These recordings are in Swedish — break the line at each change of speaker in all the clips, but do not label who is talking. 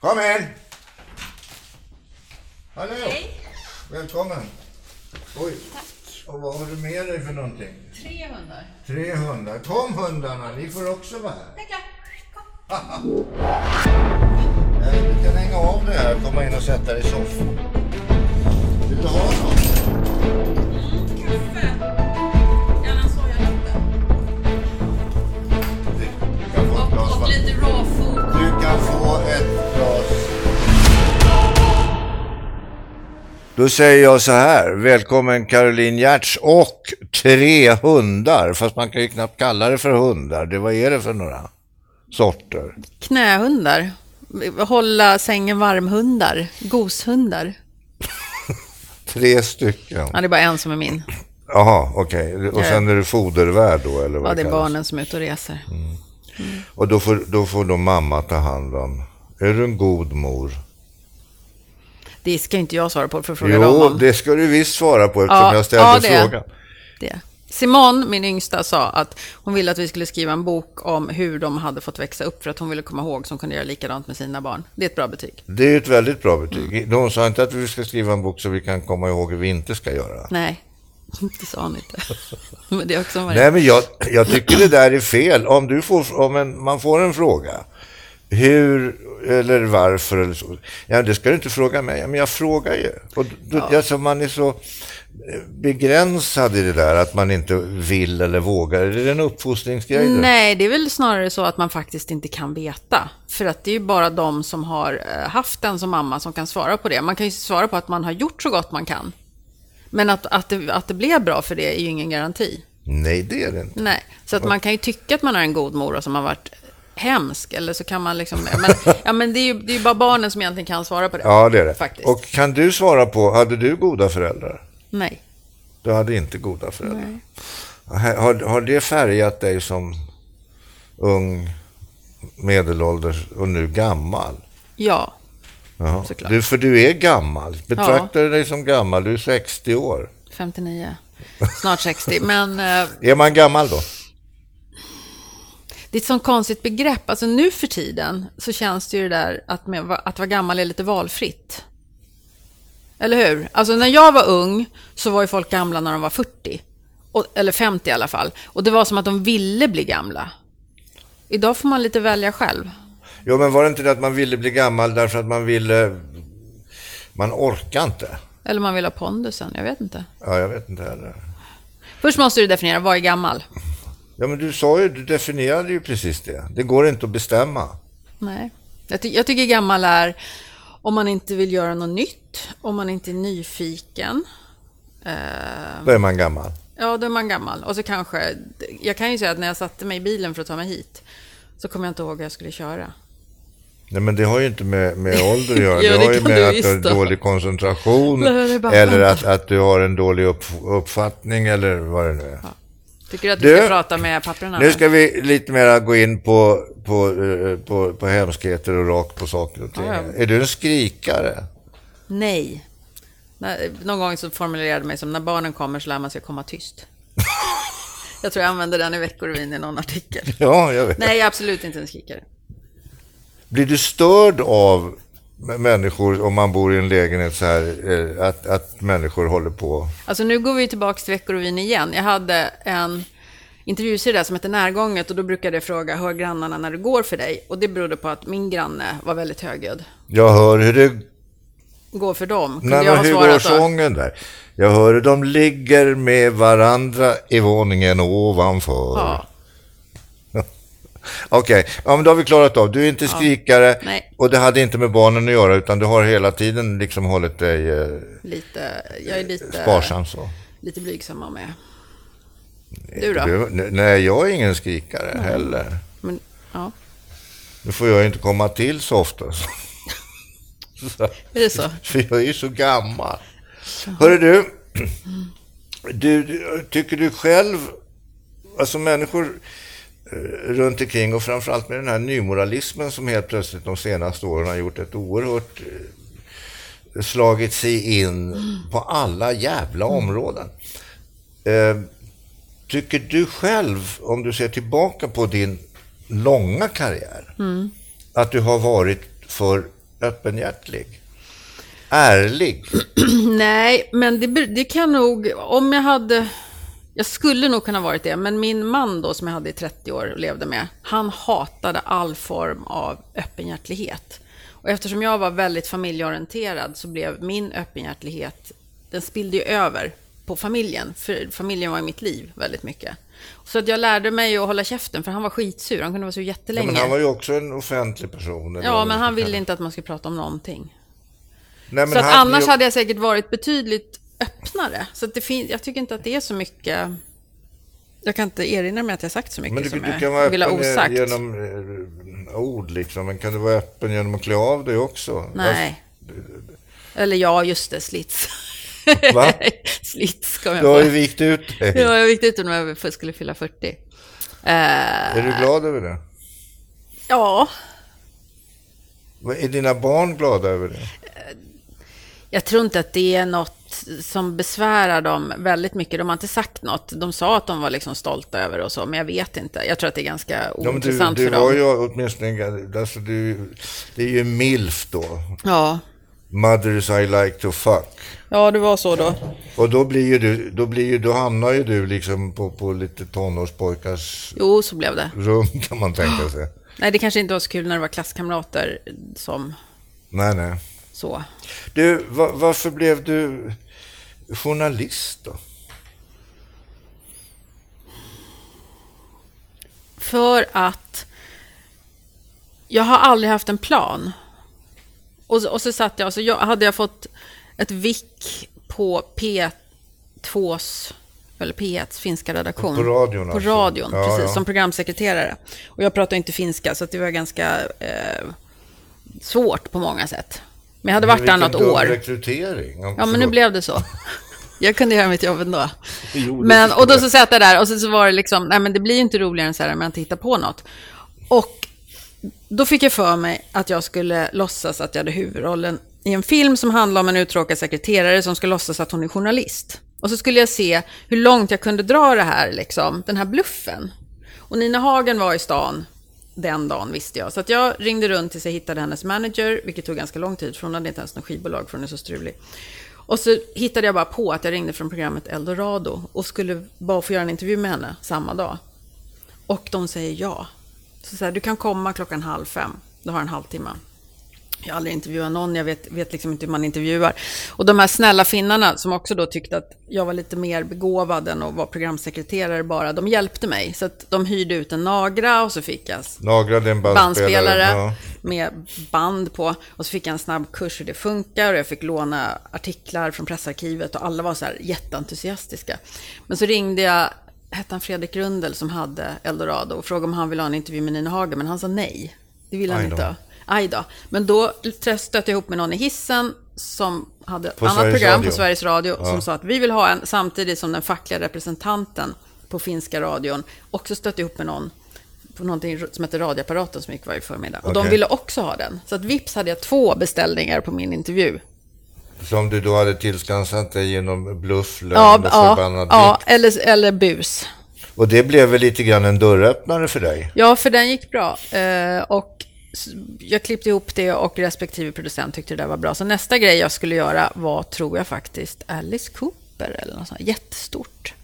Kom in! Hallå!
Hej.
Välkommen! Oj. Och vad har du med dig för någonting?
Tre hundar.
Tre hundar. Kom hundarna, ni får också vara här.
Tackar. Kom.
Eh, Du kan hänga av det här och komma in och sätta dig i soffan. Vill du ha något?
Kaffe. Gärna sojalatte.
Du kan få ett glas
Och, och
vatten.
lite raw food.
Du kan få ett glas. Då säger jag så här. Välkommen Caroline Giertz och tre hundar. Fast man kan ju knappt kalla det för hundar. Det, vad är det för några sorter?
Knähundar. Hålla sängen varm-hundar. Goshundar.
Tre stycken.
Ja, det är bara en som är min.
Jaha, okej. Och sen är du fodervärd då? Eller vad
Ja, det är
kallas?
barnen som är ute och reser.
Mm. Och då får, då får då mamma ta hand om. Är du en god mor?
Det ska inte jag svara på för att fråga dem
Jo,
om.
det ska du visst svara på eftersom
Ja,
jag ställde
ja, det.
frågan.
det. Simon, min yngsta, sa att hon ville att vi skulle skriva en bok om hur de hade fått växa upp för att hon ville komma ihåg som kunde göra likadant med sina barn. Det är ett bra betyg.
Det är ju ett väldigt bra
Mm.
betyg. De sa inte att vi ska skriva en bok så vi kan komma ihåg hur vi inte ska göra.
Nej, det sa hon inte. Men det är också en variant.
Nej, men jag, jag tycker det där är fel. Om, du får, om en, man får en fråga, hur eller varför eller så. Ja, det ska du inte fråga mig. Ja, Men jag frågar ju. Och då, alltså, man är så eh, begränsad i det där att man inte vill eller vågar. Är det en uppfostringsgrej? det?
Nej, det är väl snarare så att man faktiskt inte kan veta. För att det är ju bara de som har eh, haft en som mamma som kan svara på det. Man kan ju svara på att man har gjort så gott man kan. Men att, att, det, att det blev bra för det är ju ingen garanti.
Nej, det är det inte.
Nej, så att man kan ju tycka att man är en god mor och som har varit hemsk. Eller så kan man liksom... Men, ja, men det är ju det är ju bara barnen som egentligen kan svara på det.
Ja, det är det.
Faktiskt.
Och kan du svara på, hade du goda föräldrar?
Nej.
Du hade inte goda föräldrar. Har, har det färgat dig som ung, medelålders och nu gammal?
Ja.
Jaha.
Såklart.
Du, för du är gammal. Betraktar du dig som gammal? Du är 60 år.
59. Snart 60. Men... eh,
Är man gammal då?
Det är ett sånt konstigt begrepp. Alltså nu för tiden så känns det ju det där att, med, att vara gammal är lite valfritt. Eller hur? Alltså när jag var ung så var ju folk gamla när de var 40. Och, eller 50 i alla fall. Och det var som att de ville bli gamla. Idag får man lite välja själv.
Jo, men var det inte det att man ville bli gammal därför att man ville... Man orkar inte.
Eller man vill ha pondusen, jag vet inte.
Ja, jag vet inte heller.
Först måste du definiera, vad är gammal?
Ja, men du sa ju, du definierade ju precis det. Det går inte att bestämma.
Nej. Jag, ty- jag tycker gammal är om man inte vill göra något nytt, om man inte är nyfiken. Eh,
Då är man gammal.
Ja, då är man gammal. Och så kanske, jag kan ju säga att när jag satte mig i bilen för att ta mig hit, så kommer jag inte ihåg hur jag skulle köra.
Nej, men det har ju inte med, med ålder att göra.
Jo,
det,
det
har ju
kan
med att
du
du har
visst ha.
dålig koncentration
Nej, det är bara-
eller att, att du har en dålig upp, uppfattning eller vad det nu är.
Tycker du att vi
Du,
ska prata med papperna?
Nu ska vi lite mer gå in på, på, eh, på, på hemskheter och rakt på saker och ting.
Ja,
Är du en skrikare?
Nej. När, någon gång så formulerade jag mig som, när barnen kommer så lär man sig komma tyst. jag tror jag använde den i Veckorevyn i någon artikel.
Ja, jag vet.
Nej, jag är absolut inte en skrikare.
Blir du störd av m- människor om man bor i en lägenhet så här, eh, att, att människor håller på?
Alltså nu går vi tillbaka till Veckorevyn igen. Jag hade en intervjuserie där som hette Närgånget och då brukade jag fråga, hör grannarna när det går för dig? Och det berodde på att min granne var väldigt högljudd.
Jag hör hur det
Gå för dem, kunde
Nej, men
jag ha
hur
svarat
går
då.
sången där? Jag hör hur de ligger med varandra i våningen ovanför.
Ja.
Okej, ja, men då har vi klarat av. Du är inte skrikare
Nej.
och det hade inte med barnen att göra utan du har hela tiden liksom hållit dig eh,
Lite, jag är lite,
sparsam så.
lite blygsam av mig. Du då?
Du, n- nej, jag är ingen skrikare heller.
Men, ja.
Nu får jag ju inte komma till så ofta. Så,
Är det så?
för jag är ju så gammal. Hörru du, du, du, tycker du själv, alltså människor eh, runt omkring och framförallt med den här nymoralismen som helt plötsligt de senaste åren har gjort ett oerhört eh, slagit sig in på alla jävla områden. Eh, Tycker du själv, om du ser tillbaka på din långa karriär, att du har varit för öppenhjärtig? Ärlig?
Nej, men det, ber- det kan nog, om jag hade, jag skulle nog kunna varit det, men min man då som jag hade i 30 år och levde med, han hatade all form av öppenhjärtlighet. Och eftersom jag var väldigt familjeorienterad så blev min öppenhjärtlighet, den spillde ju över på familjen, för familjen var i mitt liv väldigt mycket. Så att jag lärde mig att hålla käften, för han var skitsur, han kunde vara sur jättelänge.
Men han var ju också en offentlig person. eller vad
Ja,
man
men
ska
han
kalla
ville
det.
inte att man skulle prata om någonting.
Nej, men
Så att
han-
annars hade jag säkert varit betydligt öppnare. Så att det fin- jag tycker inte att det är så mycket... Jag kan inte erinra mig att jag sagt så mycket
Men du,
som
du
jag
kan vara
vill ha
öppen eh,
osagt.
genom eh, ord liksom, men kan du vara öppen genom att klä av dig också? Alltså,
Nej. Eller ja, just det, slits.
Va?
slits kom jag
Du har ju
på.
vikt ut dig.
Ja, jag gick ut när jag skulle fylla 40. Eh,
Är du glad över det?
ja,
Vad- Är dina barn glada över det?
Jag tror inte att det är något som besvärar dem väldigt mycket. De har inte sagt något. De sa att de var liksom stolta över och så, men jag vet inte. Jag tror att det är ganska
Ja, men du,
ointressant
du
för
var
dem.
ju åtminstone en gan- alltså du, det är ju milf då.
Ja.
Mothers I like to fuck.
ja, det var så då.
Och då blir ju du, då blir ju, då hamnar ju du liksom på, på lite tonårspojkars
Jo, så blev det.
rum kan man tänka sig.
Nej, det kanske inte var så kul när det var klasskamrater som
Nej, nej.
så.
Du, va, varför blev du journalist då?
För att jag har aldrig haft en plan. Och, så- och så satt jag och så jag, hade jag fått ett vick på P2s, eller P1s finska redaktion.
På radion
På
alltså.
radion,
Ja,
precis,
ja.
som programsekreterare. Och jag pratar inte finska, så att det var ganska eh, svårt på många sätt. Men jag hade varit där
Vilken
något
dum
år.
rekrytering.
Ja, men nu blev det så. Jag kunde göra mitt jobb ändå.
Jo, det
Men,
förstår
och då
jag.
så satt jag där och så, så var det liksom, nej men det blir ju inte roligare än så här om jag inte hittar på något. Och då fick jag för mig att jag skulle låtsas att jag hade huvudrollen i en film som handlar om en uttråkad sekreterare som ska låtsas att hon är journalist. Och så skulle jag se hur långt jag kunde dra det här, liksom, den här bluffen. Och Nina Hagen var i stan den dagen visste jag. Så att jag ringde runt tills jag hittade hennes manager, vilket tog ganska lång tid för hon hade inte ens något skivbolag för hon är så strulig. Och så hittade jag bara på att jag ringde från programmet Eldorado och skulle bara få göra en intervju med henne samma dag. Och de säger ja. Så, så här, du kan komma klockan halv fem. Du har en halvtimme. Jag har aldrig intervjuat någon, jag vet, vet liksom inte hur man intervjuar. Och de här snälla finnarna som också då tyckte att jag var lite mer begåvad än att vara programsekreterare bara, de hjälpte mig. Så att de hyrde ut en Nagra och så fick jag
Nagrade en bandspelare.
bandspelare
Ja.
med band på. Och så fick jag en snabb kurs hur det funkar och jag fick låna artiklar från pressarkivet och alla var så här jätteentusiastiska. Men så ringde jag, hette han Fredrik Rundel som hade Eldorado och frågade om han ville ha en intervju med Nina Hagen, men han sa nej. Det ville han
Aj då.
inte ha. Aj då. Men då stötte jag ihop med någon i hissen som hade ett
På
annat
Sveriges
program
Radio.
på Sveriges Radio
Ja.
som sa att vi vill ha en, samtidigt som den fackliga representanten på finska radion också stötte ihop med någon på någonting som heter radioapparaten som gick varje förmiddag. Och de
Okej.
ville också ha den. Så att vips hade jag två beställningar på min intervju.
Som du då hade tillskansat dig genom bluff, lögn
Ja,
och
ja,
förbannad
ja
vikt.
eller, eller bus.
Och det blev väl lite grann en dörröppnare för dig?
Ja, för den gick bra. Eh, och s- jag klippte ihop det och respektive producent tyckte det där var bra. Så nästa grej jag skulle göra var, tror jag faktiskt, Alice Cooper eller något sånt. Jättestort.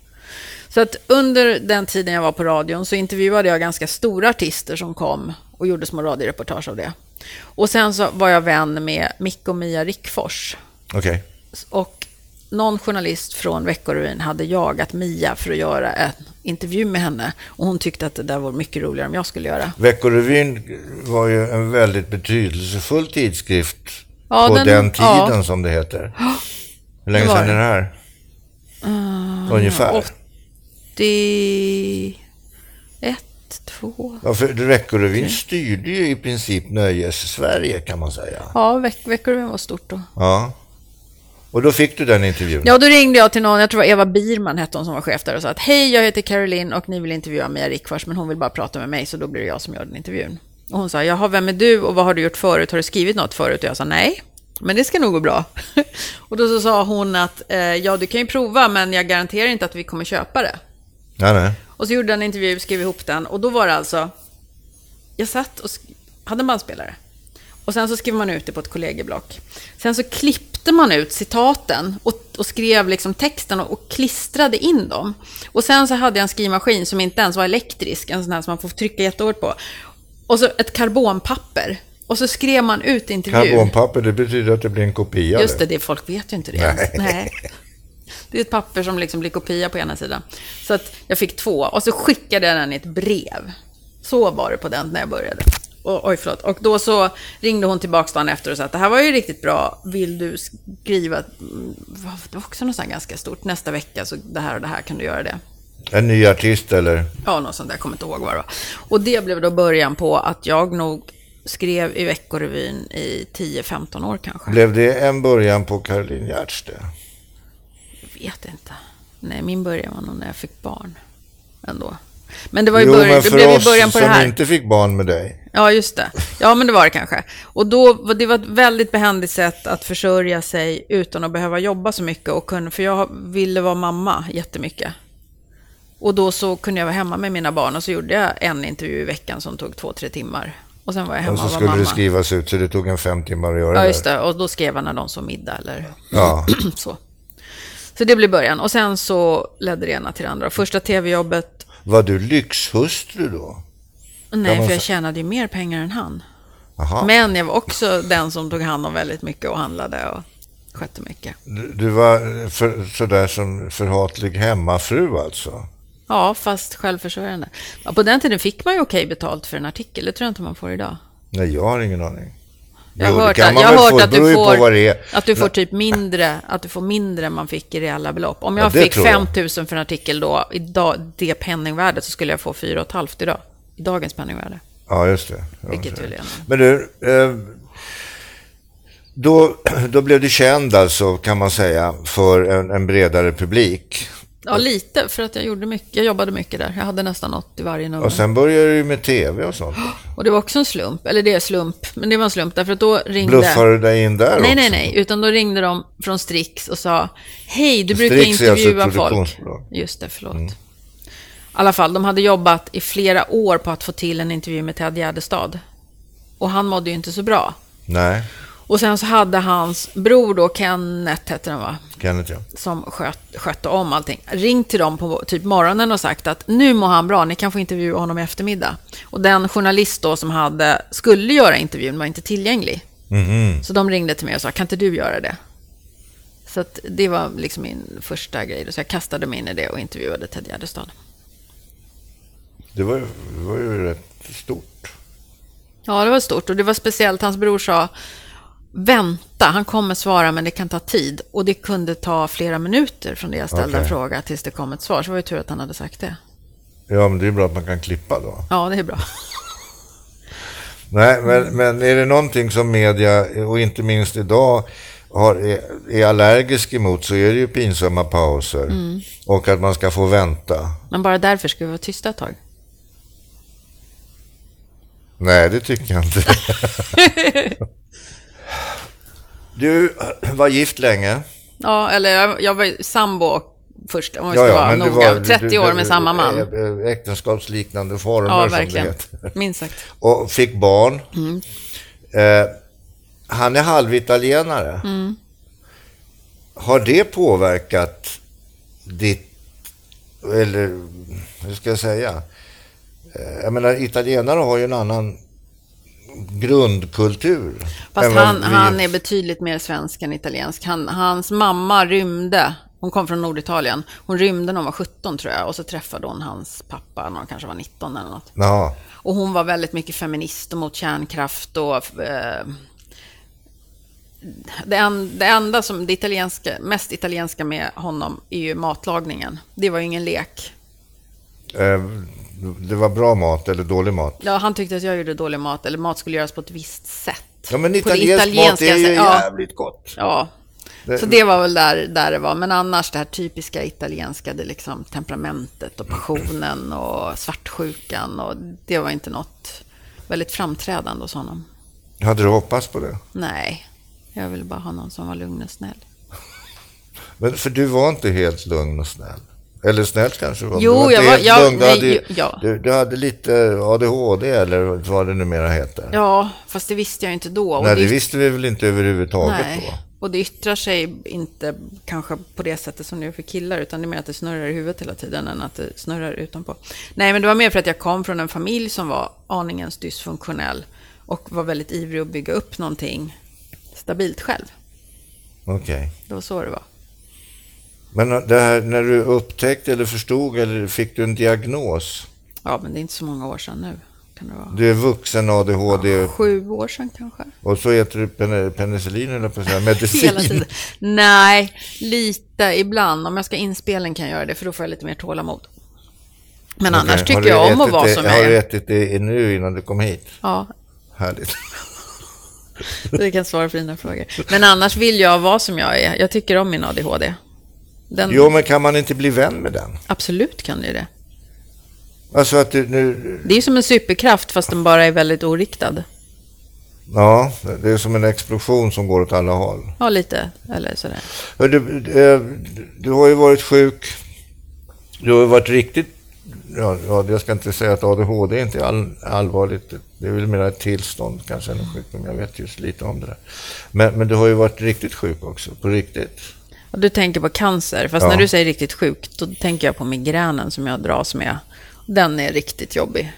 Så att under den tiden jag var på radion så intervjuade jag ganska stora artister som kom och gjorde små radioreportage av det. Och sen så var jag vän med Mick och Mia Rickfors.
Okej.
Och någon journalist från Veckorevyn hade jagat Mia för att göra en intervju med henne. Och hon tyckte att det där var mycket roligare om jag skulle göra.
Veckorevyn var ju en väldigt betydelsefull tidskrift
Ja,
på
den-
den, tiden
ja.
som det heter. Hur länge
det var
sedan är
det. Ah,
det här? Ungefär.
81, 2...
Ja, för Veckorevyn styrde ju i princip Nöjes-Sverige kan man säga.
Ja, Veck- Veckorevyn var stort då.
Ja. Och då fick du den intervjun.
Ja, då ringde jag till någon, jag tror det var Eva Birman hette hon som var chef där och sa att hej, jag heter Caroline och ni vill intervjua Mia Rickfors, men hon vill bara prata med mig, så då blir det jag som gör den intervjun. Och hon sa, jaha, vem är du och vad har du gjort förut? Har du skrivit något förut? Och jag sa nej, men det ska nog gå bra. och då så sa hon att, eh, ja, du kan ju prova, men jag garanterar inte att vi kommer köpa det.
Nej, nej.
Och så gjorde jag en intervju, skrev ihop den och då var det alltså, jag satt och sk- hade en bandspelare. Och sen så skrev man ut det på ett kollegieblock. Sen så klippte man ut citaten och, och skrev liksom texten och, och klistrade in dem. Och sen så hade jag en skrivmaskin som inte ens var elektrisk, en sån här som man får trycka jättehårt på. Och så ett karbonpapper. Och så skrev man ut intervjun.
Karbonpapper, det betyder att det blir en kopia.
Just det, det folk vet ju inte det.
Nej.
Det är ett papper som liksom blir kopia på ena sidan. Så att jag fick två och så skickade jag den i ett brev. Så var det på den när jag började. Och, oj, förlåt. Och då så ringde hon tillbaka dagen efter och sa att det här var ju riktigt bra. Vill du skriva... Mm, vad- Det var också något sånt här ganska stort. Nästa vecka, så det här och det här, kan du göra det?
En ny artist eller?
Ja, något sånt där. Jag kommer inte ihåg vad det var. Och det blev då början på att jag nog skrev i Veckorevyn i 10-15 år kanske.
Blev det en början på Caroline Giertz det?
Jag vet inte. Nej, min början var nog när jag fick barn. Ändå. Men det var ju
jo,
början,
men
det
för
blev ju
oss
början på det
som
här.
inte fick barn med dig.
Ja, just det. Ja, men det var det kanske. Och då, var- det var ett väldigt behändigt sätt att försörja sig utan att behöva jobba så mycket. Och kunde, för jag ville vara mamma jättemycket. Och då så kunde jag vara hemma med mina barn och så gjorde jag en intervju i veckan som tog två, tre timmar. Och sen var jag hemma
Och så
och, var
skulle
mamma.
det skrivas ut, så det tog en fem timmar att göra
ja, just det. Och då skrev jag när de såg middag eller
Ja.
så. Så det blev början. Och sen så ledde det ena till det andra. Första tv-jobbet,
Var du lyxhustru då?
nej
man
för
säga-
jag tjänade ju mer pengar än han.
Aha.
Men jag var också den som tog hand om väldigt mycket och handlade och skötte mycket.
Du, du var eh, för, sådär som förhatlig hemmafru alltså?
Ja, fast självförsörjande. Ja, På den tiden fick man ju okej betalt för en artikel. Det tror jag inte man får idag.
Nej, jag har ingen aning.
Jag
Jo,
har
det
hört,
kan
att,
man
jag har
väl
hört
få,
att,
det beror
du
ju på vad det
får,
är.
att du får typ mindre, att du får mindre än man fick i reella belopp. Om
Ja,
jag
det
fick
tror jag.
5 000 för en artikel då, idag, det penningvärdet, så skulle jag få 4,5 idag. I dagens penningvärde.
Ja, just det. Ja,
Vilket
så.
väl är-
Men du, eh, då, då blev du känd alltså, kan man säga, för en, en bredare publik.
Ja,
Alltså-
lite, för att jag gjorde mycket. Jag jobbade mycket där. Jag hade nästan något i varje nummer.
Och sen började du med tv och sånt.
Och det var också en slump, eller det är slump, men det var en slump därför att då ringde...
Bluffade du dig in där
Nej,
också?
nej, nej, utan då ringde de från Strix och sa Hej, du brukar
Strix är alltså ett
intervjua folk.
produktionsbolag. Mm.
Just det, förlåt. I alla fall, de hade jobbat i flera år på att få till en intervju med Ted Gärdestad. Och han mådde ju inte så bra.
Nej,
Och sen så hade hans bror då, Kenneth hette han va?
Kenneth ja.
som sköt, skötte om allting, ringt till dem på typ morgonen och sagt att nu mår han bra, ni kan få intervjua honom i eftermiddag. Och den journalist då som hade, skulle göra intervjun var inte tillgänglig. Så de ringde till mig och sa, kan inte du göra det? Så att det var liksom min första grej. Så jag kastade mig in i det och intervjuade Ted Gärdestad.
Det var, ju- det var ju rätt stort.
Ja, det var stort och det var speciellt. Hans bror sa vänta, han kommer svara men det kan ta tid. Och det kunde ta flera minuter från det jag ställde en
Okej.
fråga tills det kom ett svar. Så det var ju tur att han hade sagt det.
Ja, men det är bra att man kan klippa då.
Ja, det är bra.
Nej,
Mm.
men, men är det någonting som media, och inte minst idag, har, är, är allergisk emot så är det ju pinsamma pauser.
Mm.
Och att man ska få vänta.
Men bara därför ska vi vara tysta ett tag.
Nej, det tycker jag inte. du var gift länge.
Ja, eller jag, jag var ju sambo först, om vi ska
Ja, ja,
vara
men det
noga.
var-
30
du-
år
du-
med samma man.
ä- ä- Äktenskapsliknande former,
Ja,
som det
verkligen.
heter.
Minst sagt.
Och fick barn.
Mm.
Eh, han är halvitalienare.
Mm.
Har det påverkat ditt, eller hur ska jag säga? Eh, jag menar, italienare har ju en annan grundkultur.
Fast
än vad
han,
vi-
han är betydligt mer svensk än italiensk. Han, hans mamma rymde, hon kom från Norditalien. Hon rymde när hon var 17 tror jag och så träffade hon hans pappa när hon kanske var 19 eller något.
Ja,
Och hon var väldigt mycket feminist och mot kärnkraft och... Eh, det, en, det enda som, det italienska, mest italienska med honom är ju matlagningen. Det var ju ingen lek.
eh, det var bra mat eller dålig mat.
Ja, han tyckte att jag gjorde dålig mat, eller mat skulle göras på ett visst sätt.
Ja, men
På det
italiensk mat är
italienska
ju
sätt- ja,
jävligt gott.
ja. Så det var väl där, där det var. Men annars det här typiska italienska, det liksom temperamentet och passionen och svartsjukan. Och det var inte något väldigt framträdande hos honom.
Hade du hoppats på det?
Nej, jag ville bara ha någon som var lugn och snäll.
Men, för du var inte helt lugn och snäll. Eller snällt kanske var.
Jo,
du var
jag var-
helt
jag-
lugn. Du,
nej,
hade, ju-
ju- ja.
du, du hade lite ADHD eller vad det numera heter.
Ja, fast det visste jag inte då. Och
Nej, det
ytt-
visste vi väl inte överhuvudtaget då.
nej. Och det yttrar sig inte kanske på det sättet som det gör för killar, utan det är mer att det snurrar i huvudet hela tiden än att det snurrar utanpå. Nej, men det var mer för att jag kom från en familj som var aningens dysfunktionell och var väldigt ivrig att bygga upp någonting stabilt själv.
Okej.
Det var så det var.
Men det här, när du upptäckte eller förstod eller fick du en diagnos?
Ja, men det är inte så många år sedan nu. Kan det vara?
Du är vuxen ADHD
Sju år sedan kanske?
och så äter du pen- penicillin eller på att säga,
Hela
medicin.
tiden. Nej, lite ibland. Om jag ska inspelning kan jag göra det, för då får jag lite mer tålamod. Men annars
Okej, har
tycker
du
jag om att
ätit
vara
det,
som
Har
jag
du
är.
ätit det nu innan du kom hit?
Ja,
Härligt.
Mm. du kan svara på dina frågor. Men annars vill jag vara som jag är. Jag tycker om min ADHD. Den,
Jo, men kan man inte bli vän med den?
Absolut kan du det.
Alltså att du nu...
Det är ju som en superkraft, fast den bara är väldigt oriktad.
Ja, det är som en explosion som går åt alla håll.
Ja, lite. Eller sådär.
Hör Du, eh, du har ju varit sjuk. Du har ju varit riktigt... Ja, ja, jag ska inte säga att ADHD är inte all, allvarligt. Det är väl mer ett tillstånd kanske än en sjukdom. Jag vet just lite om det där. Men, men du har ju varit riktigt sjuk också, på riktigt.
Och du tänker på cancer, fast
Ja.
när du säger riktigt sjuk, då tänker jag på migränen som jag dras med. Den är riktigt jobbig.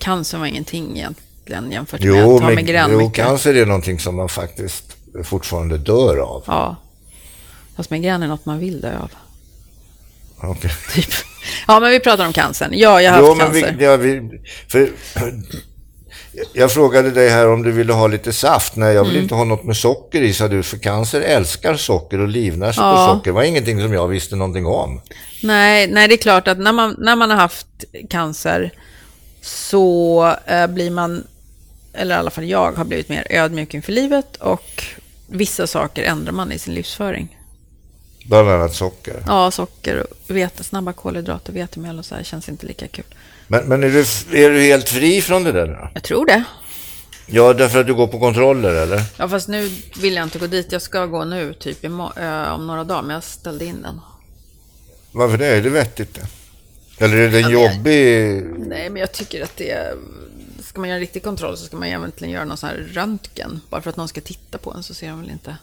Cancer var ingenting egentligen jämfört med att ha
mig-
migrän
jo
mycket.
cancer är någonting som man faktiskt fortfarande dör av.
Ja. Fast migrän är något man vill dö av.
Okej.
Typ. Ja, men vi pratar om cancern. Ja, jag har
Jo,
haft
men
cancer.
vi, ja, vi, för, jag frågade dig här om du ville ha lite saft. Nej, jag vill
Mm.
inte ha något med socker i, sa du, för cancer älskar socker och livnär sig
Ja.
på socker. Det var ingenting som jag visste någonting om.
Nej, nej, det är klart att när man, när man har haft cancer så eh, blir man, eller i alla fall jag, har blivit mer ödmjuk inför livet och vissa saker ändrar man i sin livsföring.
Bland annat socker.
Ja, socker och vete, snabba kolhydrater, vetemjöl och så här känns inte lika kul.
Men, men är, du, är du helt fri från det där? då?
Jag tror det.
Ja, därför att du går på kontroller, eller?
Ja, fast nu vill jag inte gå dit. Jag ska gå nu, typ imo- eh, om några dagar, men jag ställde in den.
Varför det? Är det vettigt? det? Eller är det en jobbig...
Nej, men jag tycker att det är... Ska man göra en riktig kontroll så ska man ju egentligen göra någon sån här röntgen. Bara för att någon ska titta på en så ser de väl inte.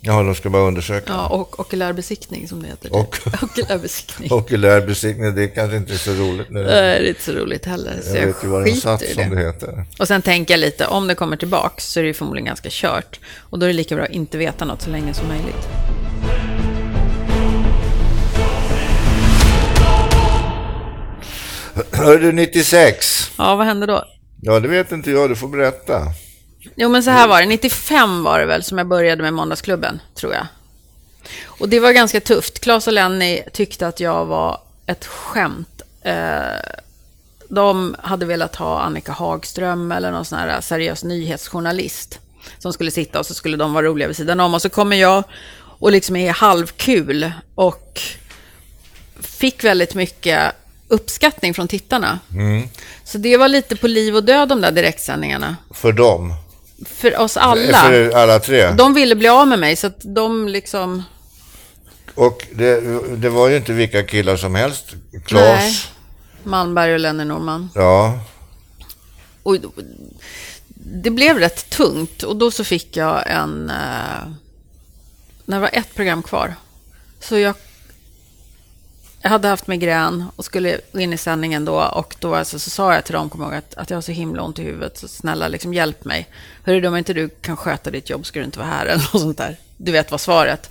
Ja, de ska bara undersöka.
Ja, och okulärbesiktning som det heter. typ.
Och-
okulärbesiktning.
Okulär besiktning, det är kanske inte så roligt nu.
Eh, Det är inte så roligt heller, så
jag
jag,
vet ju vad den satt,
skiter i
som
det.
det heter.
Och sen tänker jag lite, om det kommer tillbaka så är det ju förmodligen ganska kört. Och då är det lika bra att inte veta något så länge som möjligt.
Hör du 96?
Ja, vad hände då?
Ja, det vet inte jag. Du får berätta.
Jo, men så här var det. 95 var det väl som jag började med Måndagsklubben, tror jag. Och det var ganska tufft. Claes och Lenny tyckte att jag var ett skämt. Eh, de hade velat ha Annika Hagström eller någon sån här seriös nyhetsjournalist som skulle sitta och så skulle de vara roliga vid sidan om. Och så kommer jag och liksom är halvkul och fick väldigt mycket uppskattning från tittarna. Så det var lite på liv och död de där direktsändningarna.
För dem. Eh,
För oss alla.
För alla tre.
De ville bli av med mig, så att de liksom...
Och det, det var ju inte vilka killar som helst.
Nej.
Klas.
Malmberg och Lenny Norman.
Ja.
Och det blev rätt tungt och då så fick jag en... Eh, när det var ett program kvar. Så jag... Jag hade haft migrän och skulle in i sändningen då och då alltså, så sa jag till dem, kommer jag ihåg, att, att jag har så himla ont i huvudet, så snälla liksom hjälp mig. Hörru, om inte du kan sköta ditt jobb ska du inte vara här eller något sånt där. Du vet vad svaret.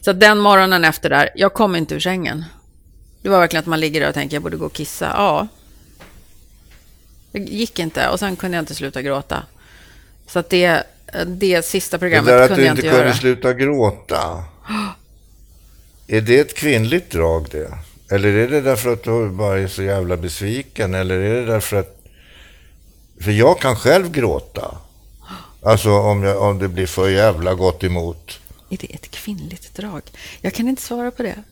Så att den morgonen efter där, jag kom inte ur sängen. Det var verkligen att man ligger där och tänker, jag borde gå och kissa. Ja, det gick inte och sen kunde jag inte sluta gråta. Så att det, det sista
Det
programmet
där att
kunde
du
jag
inte
inte
kunde
göra.
sluta gråta. Är det ett kvinnligt drag det? Eller är det därför att du bara är så jävla besviken? Eller är det därför att... För jag kan själv gråta. Alltså om, jag, om det blir för jävla gott emot.
Är det ett kvinnligt drag? Jag kan inte svara på det.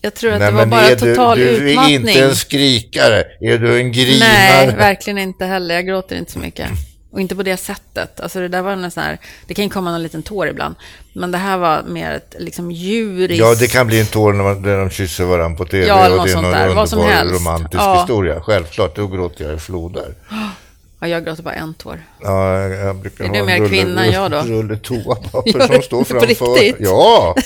Jag tror att
Nej,
det var
men
bara
är
total
du, du är
utmattning.
inte en skrikare. Är du en grinare?
Nej, verkligen inte heller. Jag gråter inte så mycket. Och inte på det sättet. Alltså det där var en sån här, det kan ju komma någon liten tår ibland. Men det här var mer ett liksom djuriskt...
Ja, det kan bli en tår när, man, när de kysser varandra på TV.
Ja, eller
och
något
det är
sånt
någon
där. Vad som
underbar
helst.
romantisk
Ja.
historia. Självklart, då gråter jag i floder.
Ja, jag gråter bara en tår.
Ja, jag- jag brukar
Är
ha
du
en
mer
rulle-
kvinna än jag då?
rulle
Gör
toapapper
du
som står
på
framför.
riktigt?
Ja!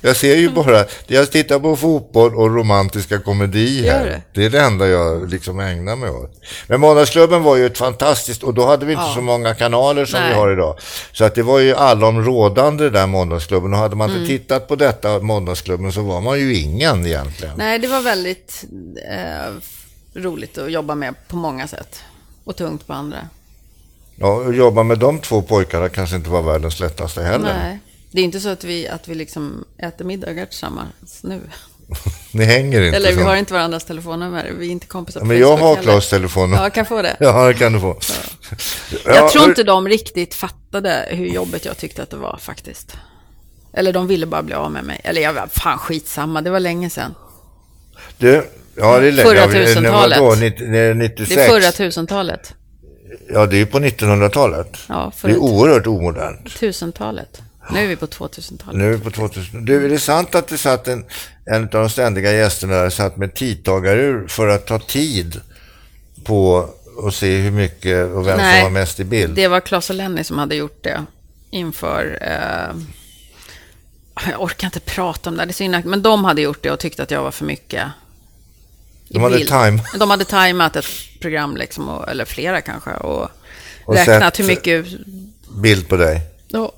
Jag ser ju bara, jag tittar på fotboll och romantiska komedier.
Gör du?
Det är det enda jag liksom ägnar mig åt. Men Månadsklubben var ju ett fantastiskt, och då hade vi inte
Ja.
så många kanaler som vi
Nej.
har idag. Så att det var ju allområdande det där Månadsklubben och hade man
Mm.
inte tittat på detta Månadsklubben så var man ju ingen egentligen.
Nej, det var väldigt eh, roligt att jobba med på många sätt. Och tungt på andra.
Ja, och jobba med de två pojkarna kanske inte var världens lättaste heller.
Nej. Det är inte så att vi, att vi liksom äter middagar tillsammans nu.
Ni hänger inte
Eller vi
så.
har inte varandras telefonnummer. Vi är inte kompisar på
Men jag
Facebook
har
heller.
Klas telefon.
Ja, kan jag få det.
Ja, det kan du få. Ja,
Jag tror
hör-
inte de riktigt fattade hur jobbigt jag tyckte att det var faktiskt. Eller de ville bara bli av med mig. Eller jag var fan skitsamma, det var länge sedan.
Du, ja, det är länge.
Förra
Ja, vi- när
tusentalet.
Vadå, nitt- när
Det
96?
är förra tusentalet.
Ja, det är ju på 1900-talet.
Ja,
Det är
förra
oerhört omodernt.
tusentalet. Nu är vi på 2000-talet.
Nu är vi på 2000. Du, är det sant att det satt en, en av de ständiga gästerna där satt med tidtagarur för att ta tid på och se hur mycket och vem
Nej,
som var mest i bild?
Det var Claes och Lenny som hade gjort det inför... Eh, jag orkar inte prata om det, här, det är så inaktivt. Men de hade gjort det och tyckte att jag var för mycket. i
De hade
bild.
time.
De hade tajmat ett program, liksom, och, eller flera kanske, och,
Och
räknat
sett-
hur mycket...
Bild på dig.
Ja,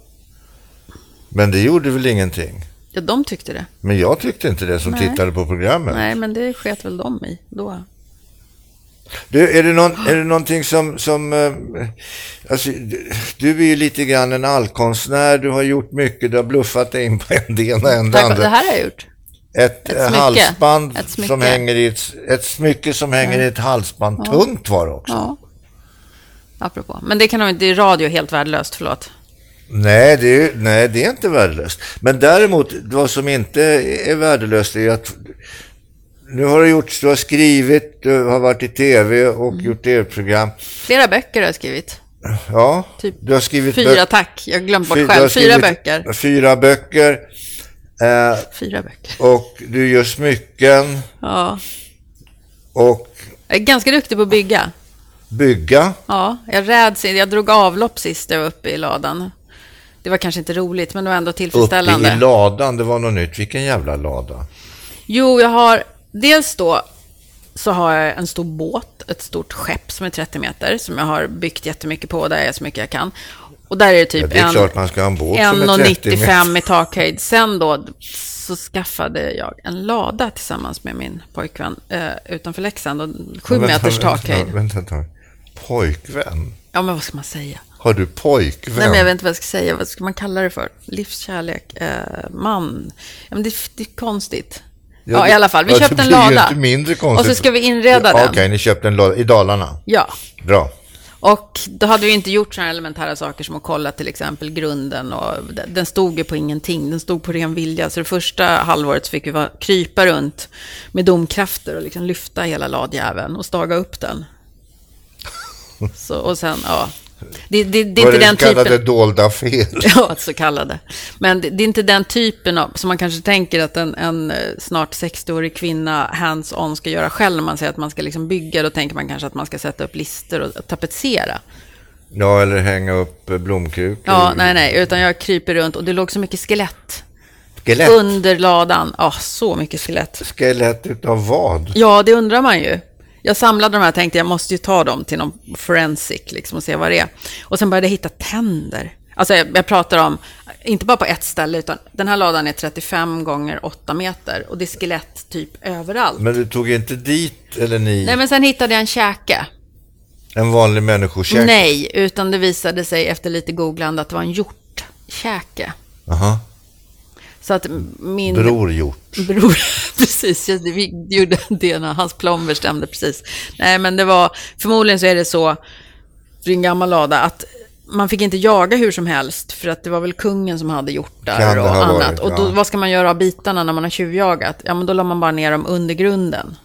Men det gjorde väl ingenting?
ja, de tyckte det.
Men jag tyckte inte det som
Nej.
tittade på programmet.
Nej, men det sket väl de i då.
Du, är det, någon, är det någonting som... som eh, alltså, du- du är ju lite grann en allkonstnär, du har gjort mycket, du har bluffat dig in på en det ena än det
Tack vare- Det
andra.
här har jag gjort.
Ett, eh,
smycke.
halsband
Ett smycke.
som hänger i ett, ett smycke som hänger i ett halsband. Tungt var det också.
Ja. Apropå. Men det kan de inte, det är radio helt värdelöst, förlåt.
Nej, det är, nej, det är inte värdelöst. Men däremot, vad som inte är värdelöst är att nu har du gjort, du har skrivit, du har varit i tv och
Mm.
gjort tv-program.
Flera böcker har jag skrivit.
Ja,
Typ
du har skrivit böcker.
Fyra, tack. Jag har glömt bort
Fy- du
själv.
har
Fyra
skrivit
böcker.
Fyra böcker. Eh,
Fyra böcker.
och du gör smycken
Ja.
och
Jag är ganska duktig på att bygga.
bygga.
Ja, jag räds inte. Jag drog avlopp sist jag var uppe i ladan. Det var kanske inte roligt, men det var ändå
Uppe
tillfredsställande.
i ladan, det var något nytt. Vilken jävla lada.
Jo, jag har... Dels då så har jag en stor båt, ett stort skepp som är 30 meter, som jag har byggt jättemycket på, där jag är så mycket jag kan. Och där är det typ
Ja, det är
en-
klart man ska ha en båt som är 30 meter.
1,95 i takhöjd. Sen då så skaffade jag en lada tillsammans med min pojkvän eh, utanför Leksand och en sju
Vänta,
meters
vänta,
takhöjd.
Vänta ett tag. Pojkvän?
Ja, men vad ska man säga?
Har du pojkvän?
Nej, men jag vet inte vad jag ska säga. Vad ska man kalla det för? Livskärlek? Eh, man? Ja, men det, det är konstigt. Ja,
det-
i alla fall. Vi
ja,
köpte
det
en
blir ju
lada.
Inte mindre konstigt.
Och så ska vi inreda
ja,
den.
Okej, ni köpte en lada i Dalarna.
Ja.
Bra.
Och då hade vi inte gjort sådana elementära saker som att kolla till exempel grunden. Och d- den stod ju på ingenting, den stod på ren vilja. Så det första halvåret så fick vi va- krypa runt med domkrafter och liksom lyfta hela ladjäveln och staga upp den. Så, och sen, ja. Det, det, det är
Vad
inte den
kallade
typen...
dolda fel?
Ja, så kallade. Men det, det är inte den typen av, som man kanske tänker att en, en eh, snart 60-årig kvinna hands-on ska göra själv. När man säger att man ska liksom bygga, då tänker man kanske att man ska sätta upp lister och tapetsera.
Ja, eller hänga upp eh, blomkrukor.
Ja, nej, nej, utan jag kryper runt och det låg så mycket skelett
Skelett.
under ladan. Ja, så mycket skelett.
Skelett utav vad?
Ja, det undrar man ju. Jag samlade de här och tänkte jag måste ju ta dem till någon forensic liksom, och se vad det är. Och sen började jag hitta tänder. Alltså jag, jag pratar om, inte bara på ett ställe, utan den här ladan är 35 gånger 8 meter och det är skelett typ överallt.
Men du tog inte dit, eller ni,
Nej, men sen hittade jag en käke.
en vanlig människokäk?
Nej, utan det visade sig efter lite googlande att det var en hjortkäke.
Aha.
Så att min...
Bror gjort.
Bror, precis. jag- Vi gjorde det när hans plomber stämde precis. Nej, men det var, förmodligen så är det så, det är en gammal lada, att man fick inte jaga hur som helst, för att det var väl kungen som hade
Kan
hjortar
det
och
ha
annat.
varit,
och då,
ja.
vad ska man göra av bitarna när man har tjuvjagat? Ja, men då la man bara ner dem under grunden.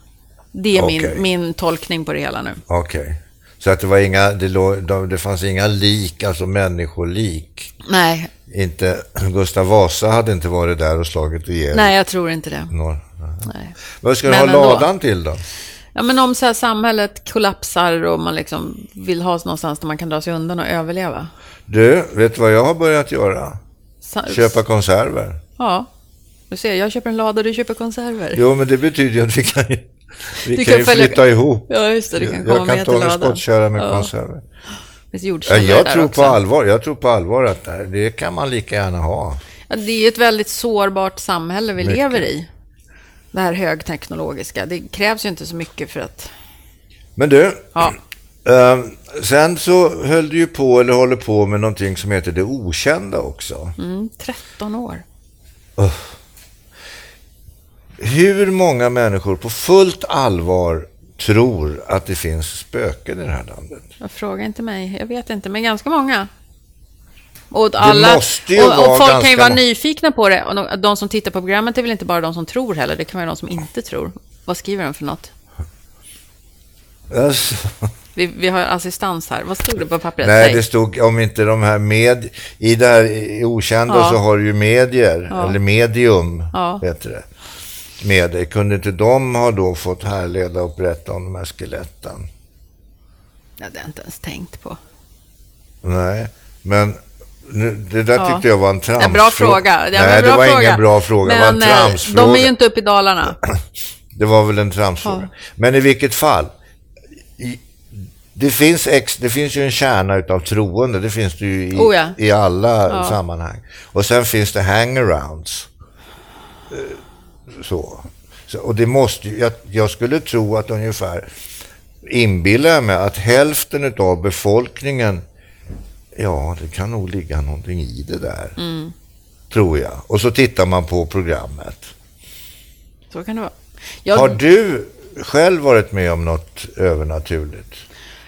Det är
Okej.
min, min tolkning på det hela nu.
Okej. Så att det, var inga, det, låg, de, det fanns inga lik, alltså människolik.
Nej,
Inte, Gustav Vasa hade inte varit där och slagit ihjäl
nej jag tror inte det.
några.
Nej.
Vad ska du
Men
ha
ändå.
ladan till då?
Ja, men om så här samhället kollapsar och man liksom vill ha någonstans där man kan dra sig undan och överleva.
Du, vet du vad jag har börjat göra?
Sa-
Köpa konserver.
Ja, du ser, jag köper en lada och du köper konserver.
Jo, men det betyder ju att vi kan, ju- vi kan
Du kan
ju
följa-
flytta ihop.
Ja, just det, du kan
Jag,
komma
jag
med
kan
till
ta
ladan.
en skottköra med
ja.
konserver.
finns
Ja,
jordkällare
jag
där
tror
också.
på allvar. Jag tror på allvar att det, här, det kan man lika gärna ha.
Ja, det är ju ett väldigt sårbart samhälle vi lever i. Det här högteknologiska. Det krävs ju inte så mycket för att...
Men du,
Ja,
ehm, sen så höll du ju på, eller håller på med någonting som heter det okända också.
mm, 13 år.
Hur många människor på fullt allvar tror att det finns spöken i det här landet?
Jag frågar inte mig. Jag vet inte, men ganska många. Och alla,
måste ju
och,
vara
och folk kan
ganska
ju vara
många.
nyfikna på det. Och de, de som tittar på programmet är väl inte bara de som tror heller. Det kan vara de som inte tror. Vad skriver de för något?
Alltså,
Vi, vi har assistans här. Vad stod det på pappret?
nej, det stod om inte de här med... I det här i okända
Ja.
så har du ju medier,
Ja.
eller medium
Ja.
heter det. Med det. Kunde inte de ha då fått härleda och berätta om de här skeletten?
Det hade jag inte ens tänkt på.
Nej, men nu, det där
Ja.
tyckte jag var en
Ja,
tramsfråga.
bra fråga. Ja,
Nej,
men bra
det var
fråga.
ingen bra fråga. det
Men
var en
eh,
tramsfråga.
de är ju inte uppe i Dalarna.
Det var väl en tramsfråga. Men i vilket fall. I, det, finns ex, det finns ju en kärna utav troende. Det finns det ju i,
Oh ja.
i alla
Ja.
sammanhang. Och sen finns det hangarounds. Eh, Så. Så, och det måste ju, jag, jag skulle tro att ungefär, inbillar jag mig, att hälften utav befolkningen, ja det kan nog ligga någonting i det där.
Mm.
Tror jag. Och så tittar man på programmet.
Så kan det vara. Jag,
Har du själv varit med om något övernaturligt?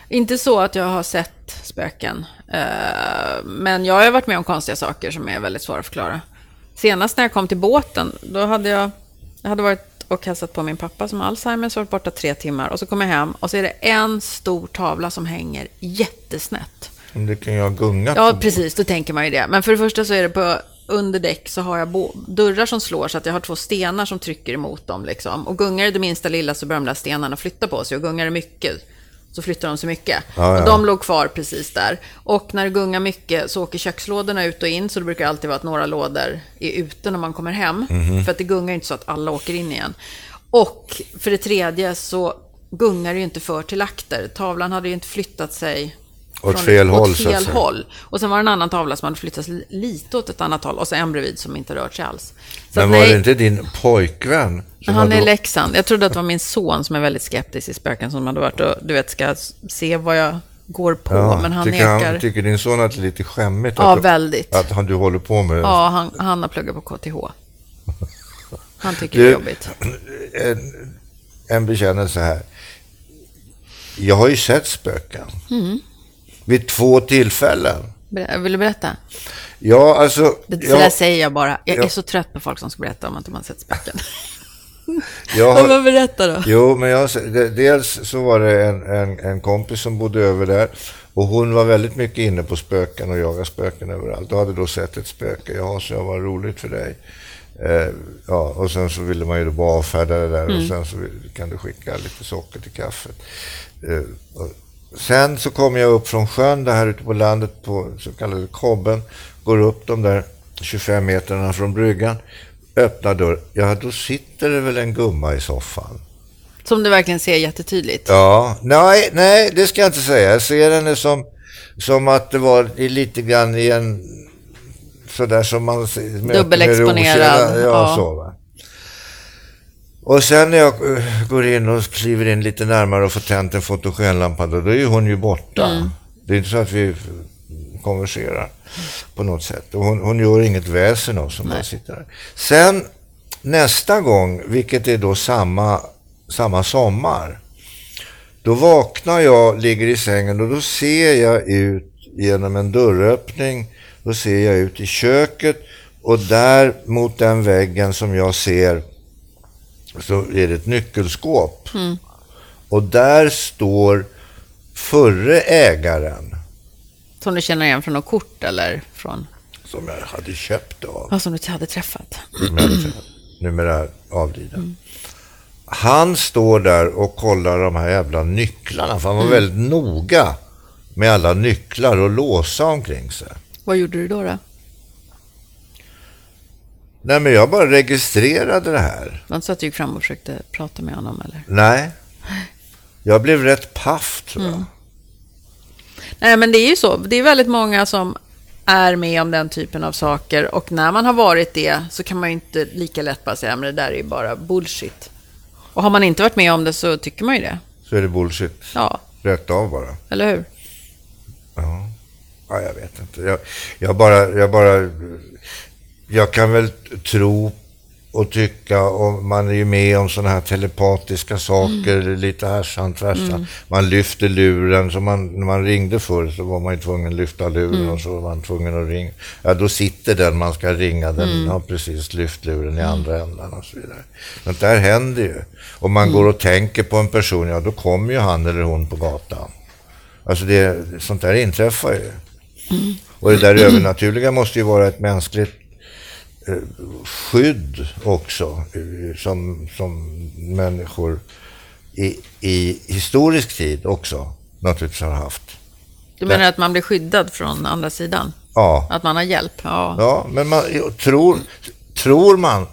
Inte så att jag har sett spöken. Eh, men jag har ju varit med om konstiga saker som är väldigt svåra att förklara. Senast när jag kom till båten, då hade jag, jag hade varit och hälsat på min pappa som har Alzheimers och varit borta tre timmar. Och så kom jag hem och så är det en stor tavla som hänger jättesnett.
Om Det kan jag ha gungat.
Ja, precis. Då tänker man ju det. Men för det första så är det på under däck så har jag bo- dörrar som slår så att jag har två stenar som trycker emot dem. Liksom. Och gungar det det minsta lilla så börjar de där stenarna flytta på sig. Och gungar det mycket så flyttar de sig mycket.
Ja, ja.
Och de låg kvar precis där. Och när det gungar mycket så åker kökslådorna ut och in. Så det brukar alltid vara att några lådor är ute när man kommer hem.
Mhm.
För att det gungar inte så att alla åker in igen. Och för det tredje så gungar det ju inte för till akter. Tavlan hade ju inte flyttat sig
Åt
från-
fel håll,
åt
så att
fel
säga.
håll. Och sen var det en annan tavla som hade flyttats li- lite åt ett annat håll och så en bredvid som inte rört sig alls. Så
Men
att
var
nej,
det inte din pojkvän? som
han är i
hade-
Leksand. Jag trodde att det var min son som är väldigt skeptisk i spöken som hade varit och du vet ska s- se vad jag går på.
Ja,
men han
tycker,
nekar.
tycker din son att det är lite skämmigt?
ja,
att,
väldigt.
Att han, du håller på med det?
Ja, han, han har pluggat på KTH. Han tycker
Du-
det är jobbigt.
En, en bekännelse här. Jag har ju sett spöken.
Mm.
Vid två tillfällen.
Ber- Vill du berätta?
Ja, alltså...
Det, så där
jag,
säger jag bara. Jag
Ja.
är så trött på folk som ska berätta om att de har sett spöken.
jag
Ja,
har,
men berätta då.
Jo, men jag, de- dels så var det en, en, en kompis som bodde över där och hon var väldigt mycket inne på spöken och jagade spöken överallt och hade då sett ett spöke. Ja, så jag var roligt för dig. Eh, ja, och sen så ville man ju då bara avfärda det där och sen så vill- kan du skicka lite socker till kaffet. Eh, och sen så kom jag upp från sjön där här ute på landet på så kallade kobben, går upp de där 25 metrarna från bryggan, öppnar dörren. Ja, då sitter det väl en gumma i soffan.
Som du verkligen ser jättetydligt.
Ja, nej, nej, det ska jag inte säga. Jag ser henne som, som att det var i lite grann i en... Sådär som man... ser- med- med
Dubbelexponerad,
rosa- Ja,
ja.
så va. Och sen när jag eh, går in och kliver in lite närmare och får tänt en fotogenlampa, då, då är ju hon ju borta.
Mm.
Det är inte så att vi konverserar på något sätt. Och hon, hon gör inget väsen av som bara sitter där. Sen nästa gång, vilket är då samma, samma sommar, då vaknar jag, ligger i sängen och då ser jag ut genom en dörröppning. Då ser jag ut i köket och där mot den väggen som jag ser så är det ett nyckelskåp. Och där står förre ägaren,
Som du känner igen från något kort eller från...
som jag hade köpt av,
Ja, som du hade träffat.
som jag hade träffat, numera avliden. Han står där och kollar de här jävla nycklarna, för han var väldigt noga med alla nycklar och låsa omkring sig.
Vad gjorde du då? då?
Nej, men jag bara registrerade det här.
Det var inte så att du gick fram och försökte prata med honom eller?
Nej. Jag blev rätt paff, tror jag.
Nej, men det är ju så. Det är väldigt många som är med om den typen av saker och när man har varit det så kan man ju inte lika lätt bara säga men det där är ju bara bullshit. Och har man inte varit med om det så tycker man ju det.
Så är det bullshit.
Ja,
Rätt av bara.
eller hur?
Ja. ja, jag vet inte. Jag, jag, bara, jag bara... Jag kan väl tro och tycka och man är ju med om sådana här telepatiska saker lite härsan tvärsan. Man lyfter luren, så man, när man ringde förr så var man ju tvungen att lyfta luren och så var man tvungen att ringa. Ja, då sitter den man ska ringa, den har precis lyft luren i andra änden och så vidare. Men där händer ju. Om man går och tänker på en person, ja då kommer ju han eller hon på gatan. Alltså det, sånt där inträffar ju. Och det där övernaturliga måste ju vara ett mänskligt eh, skydd också eh, som, som människor i, i historisk tid också naturligtvis har haft.
Du menar att man blir skyddad från andra sidan?
Ja,
Att man har hjälp? Ja.
ja men man, jo, tror, tror man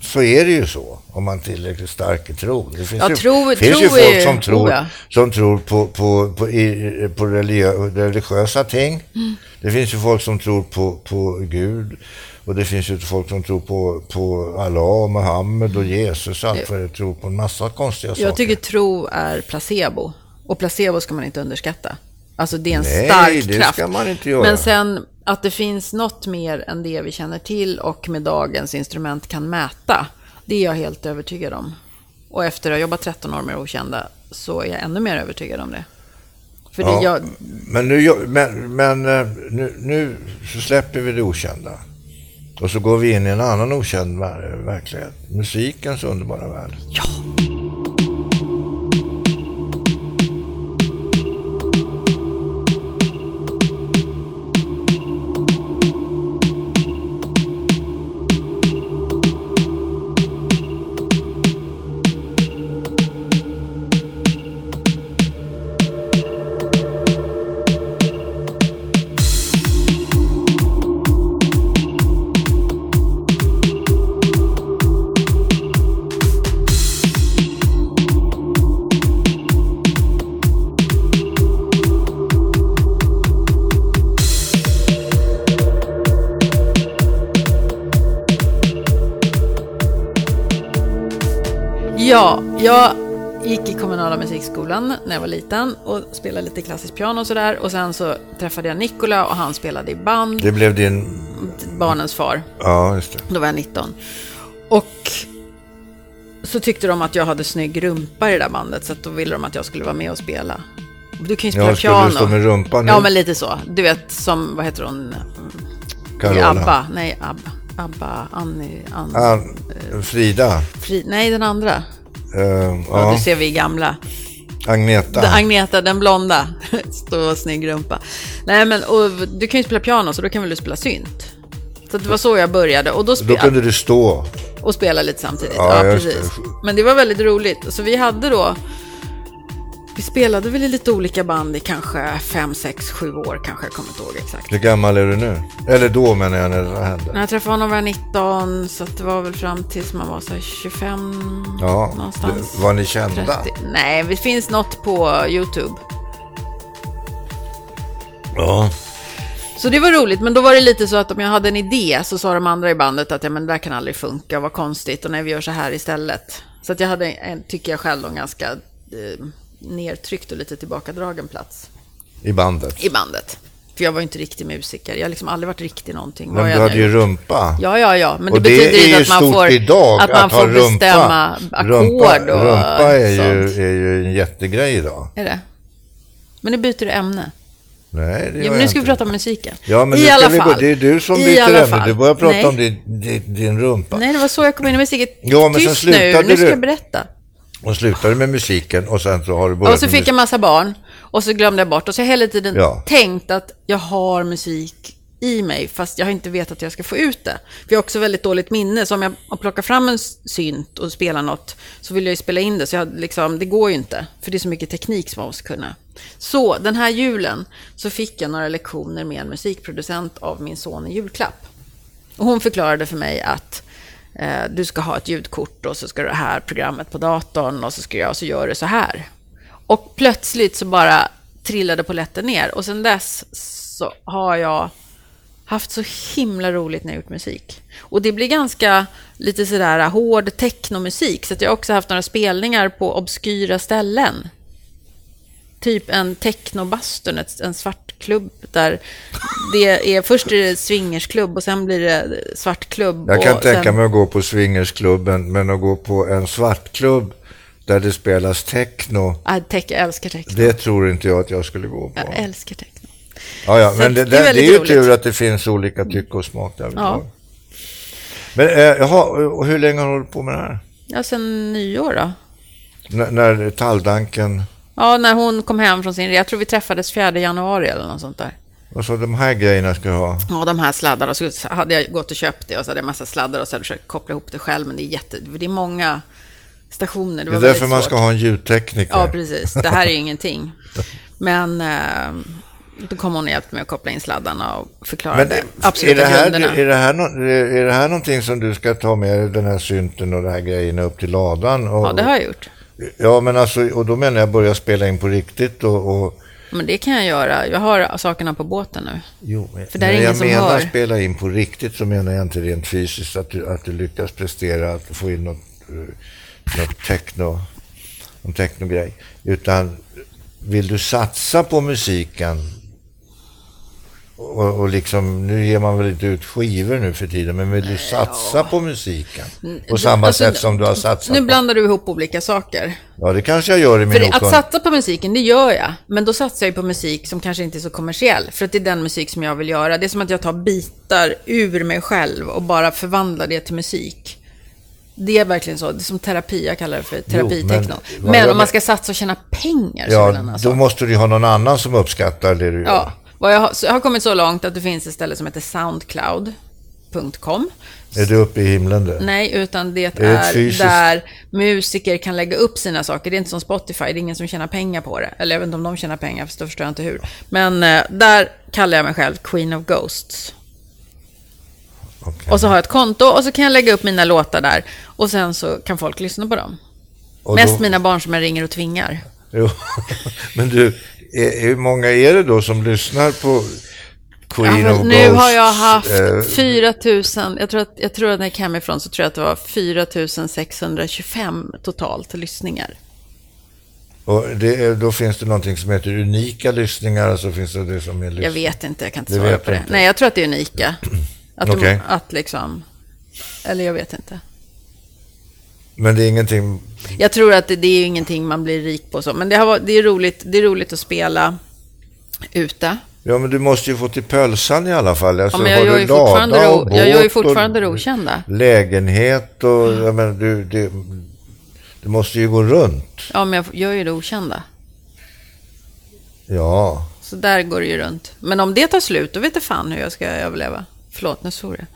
så är det ju så om man är tillräckligt stark i tron. Det finns,
Ja,
ju,
tro-
finns ju
tro
folk
är-
som tror,
oh ja.
som tror på, på, på, i, på religiö- religiösa ting. Det finns ju folk som tror på, på Gud och det finns ju folk som tror på, på Allah och Muhammed och Jesus och allt vad det är, tror på en massa konstiga saker.
Jag tycker tro är placebo. Och placebo ska man inte underskatta. Alltså det är en
Nej,
stark
det
kraft.
ska man inte göra.
Men sen att det finns något mer än det vi känner till och med dagens instrument kan mäta. Det är jag helt övertygad om. Och efter att ha jobbat 13 år med det okända så är jag ännu mer övertygad om det. För det
Ja,
jag,
Men, nu, gör- men, men eh, nu, nu så släpper vi det okända. Och så går vi in i en annan okänd ver- verklighet. Musikens underbara värld.
Ja, jag gick i kommunala musikskolan när jag var liten och spelade lite klassiskt piano och sådär. Och sen så träffade jag Nikola och han spelade i band,
Det blev din...
barnens far.
Ja, just det.
Då var jag 19. Och så tyckte de att jag hade snygg rumpa i det där bandet så att då ville de att jag skulle vara med och spela. Du kan ju spela
Ja, skulle
piano.
du stå med rumpan nu?
Ja, men lite så. Du vet som, vad heter hon, i
Carola.
ABBA? Nej, ABBA. ABBA, Annie, Ann,
Ann- Frida.
Fri, nej den andra.
Eh,
Ja.
ja.
Du ser vi är gamla.
Agneta.
D- Agneta den blonda. Stor snygg rumpa. Nej men och, du kan ju spela piano så då kan väl du spela synt. Så att det var så jag började och då
Då
spelade
kunde du stå.
och spela lite samtidigt.
Ja,
Ja,
just
precis.
det.
Men det var väldigt roligt. Så vi hade då, vi spelade väl i lite olika band i kanske fem, sex, sju år kanske, jag kommer inte ihåg exakt.
Hur gammal är du nu? Eller då menar jag när det här hände.
När jag träffade honom var jag 19, så att det var väl fram tills man var så här 25
Ja,
någonstans.
det- var ni kända?
30. Nej, det finns något på YouTube.
Ja.
Så det var roligt, men då var det lite så att om jag hade en idé så sa de andra i bandet att ja, men det där kan aldrig funka, vad konstigt, och nej vi gör så här istället. Så att jag hade, en, tycker jag själv, en ganska eh, nedtryckt och lite tillbakadragen plats
I bandet.
i bandet. För jag var ju inte riktig musiker, jag har liksom aldrig varit riktig någonting. Vad
Men
jag
du hade
nu?
ju rumpa.
Ja, ja, ja, men det,
och det
betyder
är
inte
ju
att man
stort
får,
idag
att man
att
får
ha rumpa.
bestämma ackord
rumpa,
och
rumpa är
sånt.
ju, är ju en jättegrej idag.
Är det? Men nu byter du ämne.
Nej, det gör
Ja,
jag
men nu ska vi
inte.
prata om musiken.
Ja, men
I
nu ska
alla
vi gå-
fall.
Det är du som
I
byter
alla
ämne.
fall.
Du börjar prata
Nej.
om din, din, din rumpa.
Nej, det var så jag kom in i musiken.
Ja, men sen
Tyst
slutade
nu, nu
du.
ska jag berätta.
Och slutade med musiken och sen så har du börjat
Och så
med
fick jag massa barn och så glömde jag bort och så har jag hela tiden
Ja.
tänkt att jag har musik i mig fast jag har inte vetat att jag ska få ut det. För jag har också väldigt dåligt minne så om jag plockar fram en synt och spelar något så vill jag ju spela in det så jag liksom, det går ju inte för det är så mycket teknik som man måste kunna. Så den här julen så fick jag några lektioner med en musikproducent av min son i julklapp. Och hon förklarade för mig att eh, du ska ha ett ljudkort och så ska du ha det här programmet på datorn och så ska jag så gör du så här. Och plötsligt så bara trillade polletten ner och sen dess så har jag haft så himla roligt när jag gjort musik. Och det blir ganska lite sådär hård technomusik så att jag har också haft några spelningar på obskyra ställen. Typ en technobastun, ett- en svartklubb där det är först är det swingersklubb och sen blir det svartklubb.
Jag kan
och
tänka
sen,
mig att gå på swingersklubben, men att gå på en svartklubb där det spelas techno,
Ah, tech, jag älskar techno.
det tror inte jag att jag skulle gå på.
Jag älskar techno.
Ja, ja,
Så
men
det
det,
är
det, det,
väldigt
är ju
roligt.
tur att det finns olika tycke och smak där.
Ja.
Ja. Men eh, jaha, och hur länge har du hållit på med det här?
Ja, sen nyår då.
N- när talldanken,
Ja, när hon kom hem från sin Jag tror vi träffades 4 januari eller något sånt där.
och så de här grejerna ska jag ha.
Ja, de här sladdarna. Så hade jag gått och köpt det och så hade jag massa sladdar och så hade jag försökt koppla ihop det själv. Men det är, jätte, det är många stationer. Det,
Det
var
är därför
väldigt
man
svårt.
ska ha en ljudtekniker.
Ja, precis. Det här är ju ingenting. Men eh, då kom hon och hjälpte mig att koppla in sladdarna och förklarade
Men eh, är
absoluta
det, här,
grunderna.
är, det här, nå- är det här någonting som du ska ta med dig, den här synten och de här grejerna upp till ladan? Och,
Ja, det har jag gjort.
Ja, men alltså, och då menar jag börja spela in på riktigt och... och
Men det kan jag göra. Jag har sakerna på båten nu.
jo, men-
För där är
när
ingen
jag
som
menar
hör.
spela in på riktigt så menar jag inte rent fysiskt att du, att du lyckas prestera, att få in något, eh, något techno, någon technogrej. Utan vill du satsa på musiken och, och liksom, nu ger man väl inte ut skivor nu för tiden, men vill du satsa på musiken? På samma
Alltså,
sätt som du har satsat
Nu
på...
blandar du ihop olika saker.
Ja, det kanske jag gör i min
För att
okunnighet.
satsa på musiken, det gör jag. Men då satsar jag ju på musik som kanske inte är så kommersiell. För att det är den musik som jag vill göra. Det är som att jag tar bitar ur mig själv och bara förvandlar det till musik. Det är verkligen så. Det är som terapi. Jag kallar det för terapitechno.
men-
Men,
vad jag
om man
men-
ska satsa och tjäna pengar så är det en
Ja,
annan
då
sak.
måste du ju ha någon annan som uppskattar det du gör.
alltså. Ja. Vad jag, har, så jag har kommit så långt att det finns ett ställe som heter soundcloud.com.
Är du uppe i himlen där?
Nej, utan det
det
är
fysiskt?
där musiker kan lägga upp sina saker. Det är inte som Spotify, det är ingen som tjänar pengar på det. Eller jag vet inte om de tjänar pengar, för då förstår jag inte hur. Men eh, där kallar jag mig själv Queen of Ghosts.
Okej.
Och så har jag ett konto och så kan jag lägga upp mina låtar där. Och sen så kan folk lyssna på dem.
Och
Mest
då-
mina barn som jag ringer och tvingar.
Jo. Men du, är, hur många är det då som lyssnar på Queen
Ja, men
of
nu
Ghosts?
har jag haft
eh,
4 000, jag tror att, jag tror att när jag gick hemifrån så tror jag att det var 4 625 totalt lyssningar.
Eh, och det, är- då finns det någonting som heter unika lyssningar och så finns det det som är
Jag
lyssningar.
vet inte, jag kan inte
Det
svara
vet
på
du
det.
inte.
Nej, jag tror att det är unika. Att,
Okej.
de, att liksom... Eller jag vet inte.
Men det är ingenting...
Jag tror att det, det är ju ingenting man blir rik på så. Men det, har, varit- det, är, roligt, det är roligt att spela ute.
Ja, men du måste ju få till pölsan i alla fall. Alltså,
Ja, men jag,
har
gör
du
ju
lada
fortfarande
och
ro, jag gör ju
båt och
fortfarande Mm. rokända.
Lägenhet och... Jag menar, du, det, du måste ju gå runt.
Ja, men jag gör ju det okända.
Ja.
Så där går det ju runt. Men om det tar slut, då vet jag fan hur jag ska överleva. Förlåt, nu svor jag.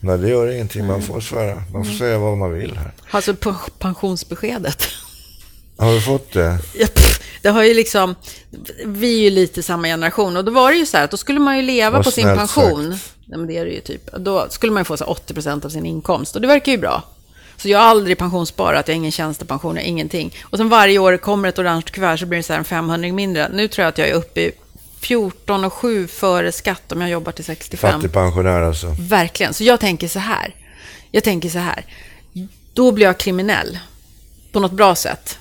Nej, det gör ingenting. Man får svära. Man
Mm.
får säga vad man vill här.
Alltså pe- pensionsbeskedet.
Har du fått det?
Ja, pff, det har ju liksom, vi är ju lite samma generation och då var det ju så här att då skulle man ju leva
Vad
på sin
snällt
pension. Nej, men det är det ju typ. Då skulle man ju få så här 80% av sin inkomst och det verkar ju bra. Så jag har aldrig pensionssparat, jag har ingen tjänstepension, jag har ingenting. Och sen varje år kommer ett orange kuvert så blir det så här en 500 mindre. Nu tror jag att jag är uppe i 14 och 7 före skatt om jag jobbar till 65.
Fattigpensionär alltså.
Verkligen. Så jag tänker så här. Jag tänker så här. Då blir jag kriminell. På något bra sätt.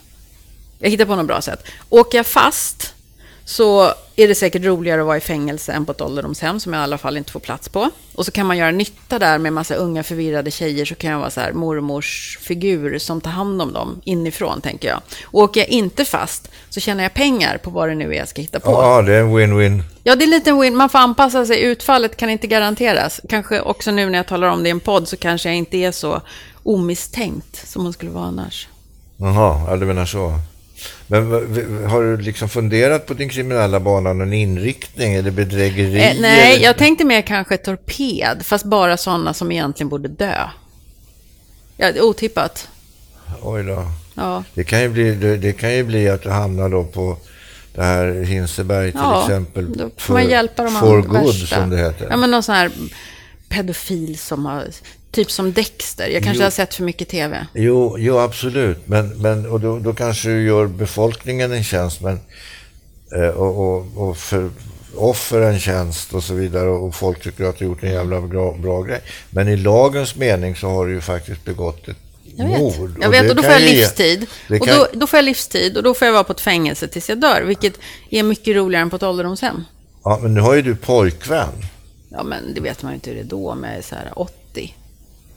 Jag hittar på något bra sätt. Åker jag fast så är det säkert roligare att vara i fängelse än på ett ålderdomshem som jag i alla fall inte får plats på. Och så kan man göra nytta där med massa unga förvirrade tjejer så kan jag vara så här mormors figur som tar hand om dem inifrån tänker jag. Och åker jag inte fast så tjänar jag pengar på vad det nu är jag ska hitta på.
Ja, det är en win-win.
Ja, det är lite win. Man får anpassa sig. Utfallet kan inte garanteras. Kanske också nu när jag talar om det i en podd så kanske jag inte är så omisstänkt som man skulle vara annars.
Jaha, ja, du menar så. Men v- v- har du liksom funderat på din kriminella bana, någon inriktning eller bedrägeri?
Eh, nej,
eller-
jag tänkte mer kanske torped, fast bara sådana som egentligen borde dö. Ja, det är otippat.
Oj då.
Ja.
Det kan, ju bli, det, det kan ju bli att du hamnar då på det här Hinseberg till
ja,
exempel.
Då får man hjälpa de
for
andra
good,
värsta.
som det heter.
Ja, men någon sån här pedofil som har, typ som Dexter. Jag kanske
Jo.
har sett för mycket tv.
Jo, jo absolut. Men, men, och då, då kanske du gör befolkningen en tjänst men, eh, och, och, och för offer en tjänst och så vidare och folk tycker att du har gjort en jävla bra, bra grej. Men i lagens mening så har du ju faktiskt begått ett
Jag vet.
mord.
jag vet,
det
och då
kan
får jag
ju ge-
livstid.
det
Och
kan-
då, då får jag livstid och då får jag vara på ett fängelse tills jag dör, vilket är mycket roligare än på ett ålderdomshem.
Ja, men nu har ju du pojkvän.
Ja, men det vet man ju inte hur det är då, om jag är så här 80,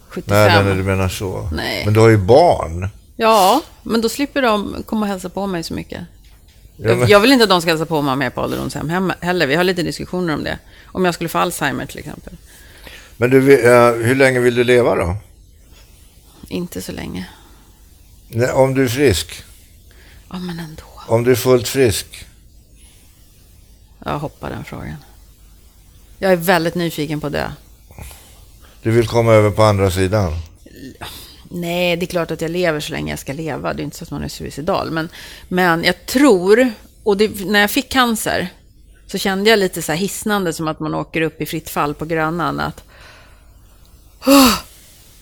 75.
Nej, nej, nej, du menar så.
Nej.
Men du har ju barn.
Ja, men då slipper de komma och hälsa på mig så mycket.
Ja, men-
Jag vill inte att de ska hälsa på mig om jag är på ålderdomshem hem- heller. Vi har lite diskussioner om det. Om jag skulle få Alzheimer till exempel.
Men du, eh, hur länge vill du leva då?
Inte så länge.
Nej, Om du är frisk?
Ja, men ändå.
Om du är fullt frisk?
Jag hoppar den frågan. Jag är väldigt nyfiken på det.
Du vill komma över på andra sidan?
Nej, det är klart att jag lever så länge jag ska leva. Det är inte så att man är suicidal. Men, men jag tror, och det, när jag fick cancer så kände jag lite så här hisnande som att man åker upp i fritt fall på Grönan. Att, åh,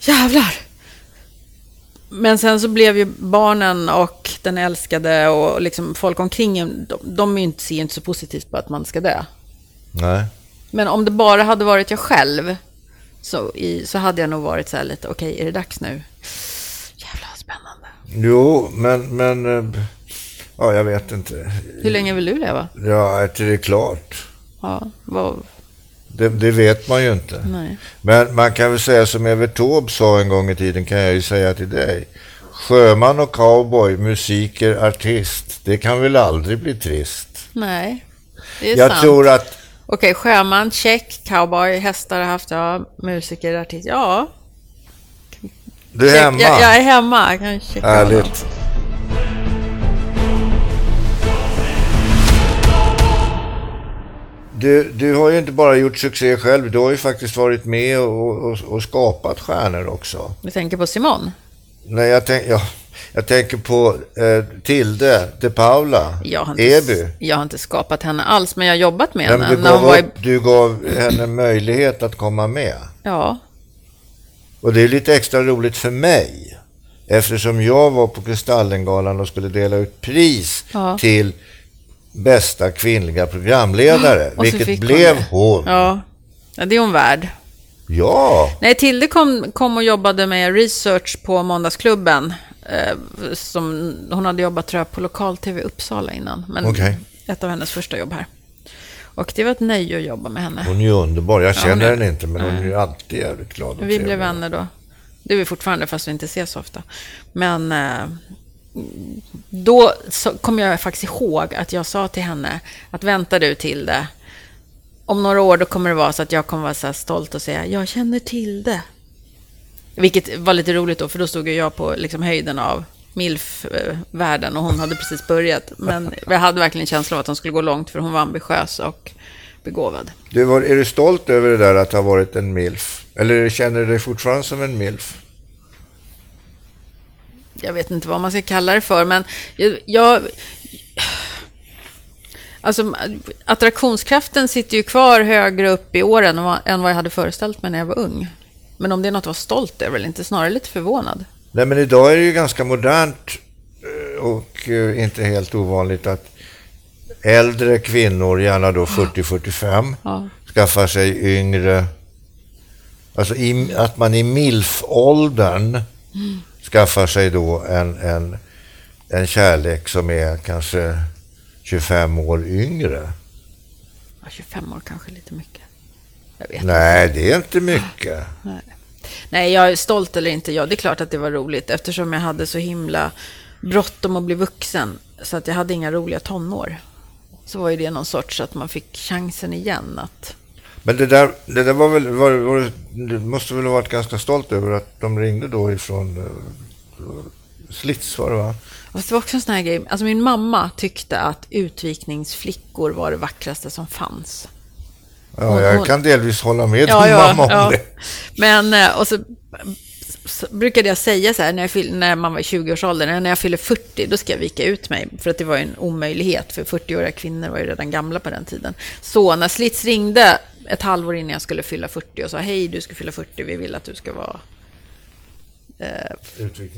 jävlar! Men sen så blev ju barnen och den älskade och liksom folk omkring en, de, de är ju inte, ser ju inte så positivt på att man ska dö.
Nej.
Men om det bara hade varit jag själv så, i, så hade jag nog varit så här lite, okej, är det dags nu? Jävla spännande.
Jo, men... men eh, ja, jag vet inte.
Hur länge vill du leva?
Ja, till det är klart.
Ja, vad,
Det, det vet man ju inte.
nej.
Men man kan väl säga som Evert Taube sa en gång i tiden, kan jag ju säga till dig. Sjöman och cowboy, musiker, artist. Det kan väl aldrig bli trist?
Nej, det är
Jag
sant.
tror att
Okej, sjöman, check, cowboy, hästar har haft, ja, musiker, artist, ja.
du är
check.
hemma.
Jag, jag är hemma, jag kan checka honom.
Ärligt. Du, du har ju inte bara gjort succé själv, du har ju faktiskt varit med och, och, och skapat stjärnor också.
Du tänker på Simon?
Nej, jag, tänk, ja, jag tänker på eh, Tilde de Paula,
Jag har,
Eby.
inte, jag har inte skapat henne alls, men jag har jobbat med
Nej,
henne.
men du,
när hon
gav
var i,
upp, du gav henne möjlighet att komma med.
ja,
Och det är lite extra roligt för mig. Eftersom jag var på Kristallengalan och skulle dela ut pris
Ja.
till bästa kvinnliga programledare.
och så
vilket
fick hon
blev
det.
hon. Ja.
ja, ja, det är hon värd. Nej, Tilde kom, kom och jobbade med research på Måndagsklubben. Eh, som, hon hade jobbat tror jag, på lokal-tv i Uppsala innan. Men
Okej.
ett av hennes första jobb här. Och det var ett nöje att jobba med henne.
Hon är ju underbar. Jag känner
är-
henne inte, men hon är ju alltid jävligt glad och
Vi
trevlig.
blev vänner då. Det är vi fortfarande, fast vi inte ses så ofta. Men eh, då så kom jag faktiskt ihåg att jag sa till henne att vänta du till det. Om några år då kommer det vara så att jag kommer vara så här stolt och säga jag känner till det. Vilket var lite roligt då, för då stod ju jag på liksom höjden av MILF-världen och hon hade precis börjat. Men jag hade verkligen känslan av att hon skulle gå långt, för hon var ambitiös och begåvad.
Du, var, är du stolt över det där att ha varit en milf? Eller känner du dig fortfarande som en milf?
jag vet inte vad man ska kalla det för, men jag... jag alltså, attraktionskraften sitter ju kvar högre upp i åren än vad- än vad jag hade föreställt mig när jag var ung. Men om det är något att vara stolt över eller inte, snarare lite förvånad.
Nej, men idag är det ju ganska modernt eh, och eh, inte helt ovanligt att äldre kvinnor, gärna då 40-45,
Ah. Ja.
skaffar sig yngre... Alltså i, att man i MILF-åldern
Mm.
skaffar sig då en, en, en kärlek som är kanske 25 år yngre.
Ja, 25 år kanske är lite mycket. Jag vet
Nej, det är inte mycket.
Nej. Nej, jag är stolt eller inte. Ja, det är klart att det var roligt eftersom jag hade så himla bråttom att bli vuxen. Så att jag hade inga roliga tonår. Så var ju det någon sorts att man fick chansen igen att...
Men det där, det där var väl, var, var, du måste väl ha varit ganska stolt över att de ringde då ifrån eh, slits var det va?
Fast det var också en sån här grej. Alltså min mamma tyckte att utvikningsflickor var det vackraste som fanns.
Ja,
hon-
jag kan delvis hålla med din mamma om det.
Men, eh, och så, så brukade jag säga så här när, jag fyll, när man var i 20-årsåldern, när jag fyller 40, då ska jag vika ut mig. För att det var ju en omöjlighet, för 40-åriga kvinnor var ju redan gamla på den tiden. Så när Slits ringde ett halvår innan jag skulle fylla 40 och sa hej, du ska fylla 40, vi vill att du ska vara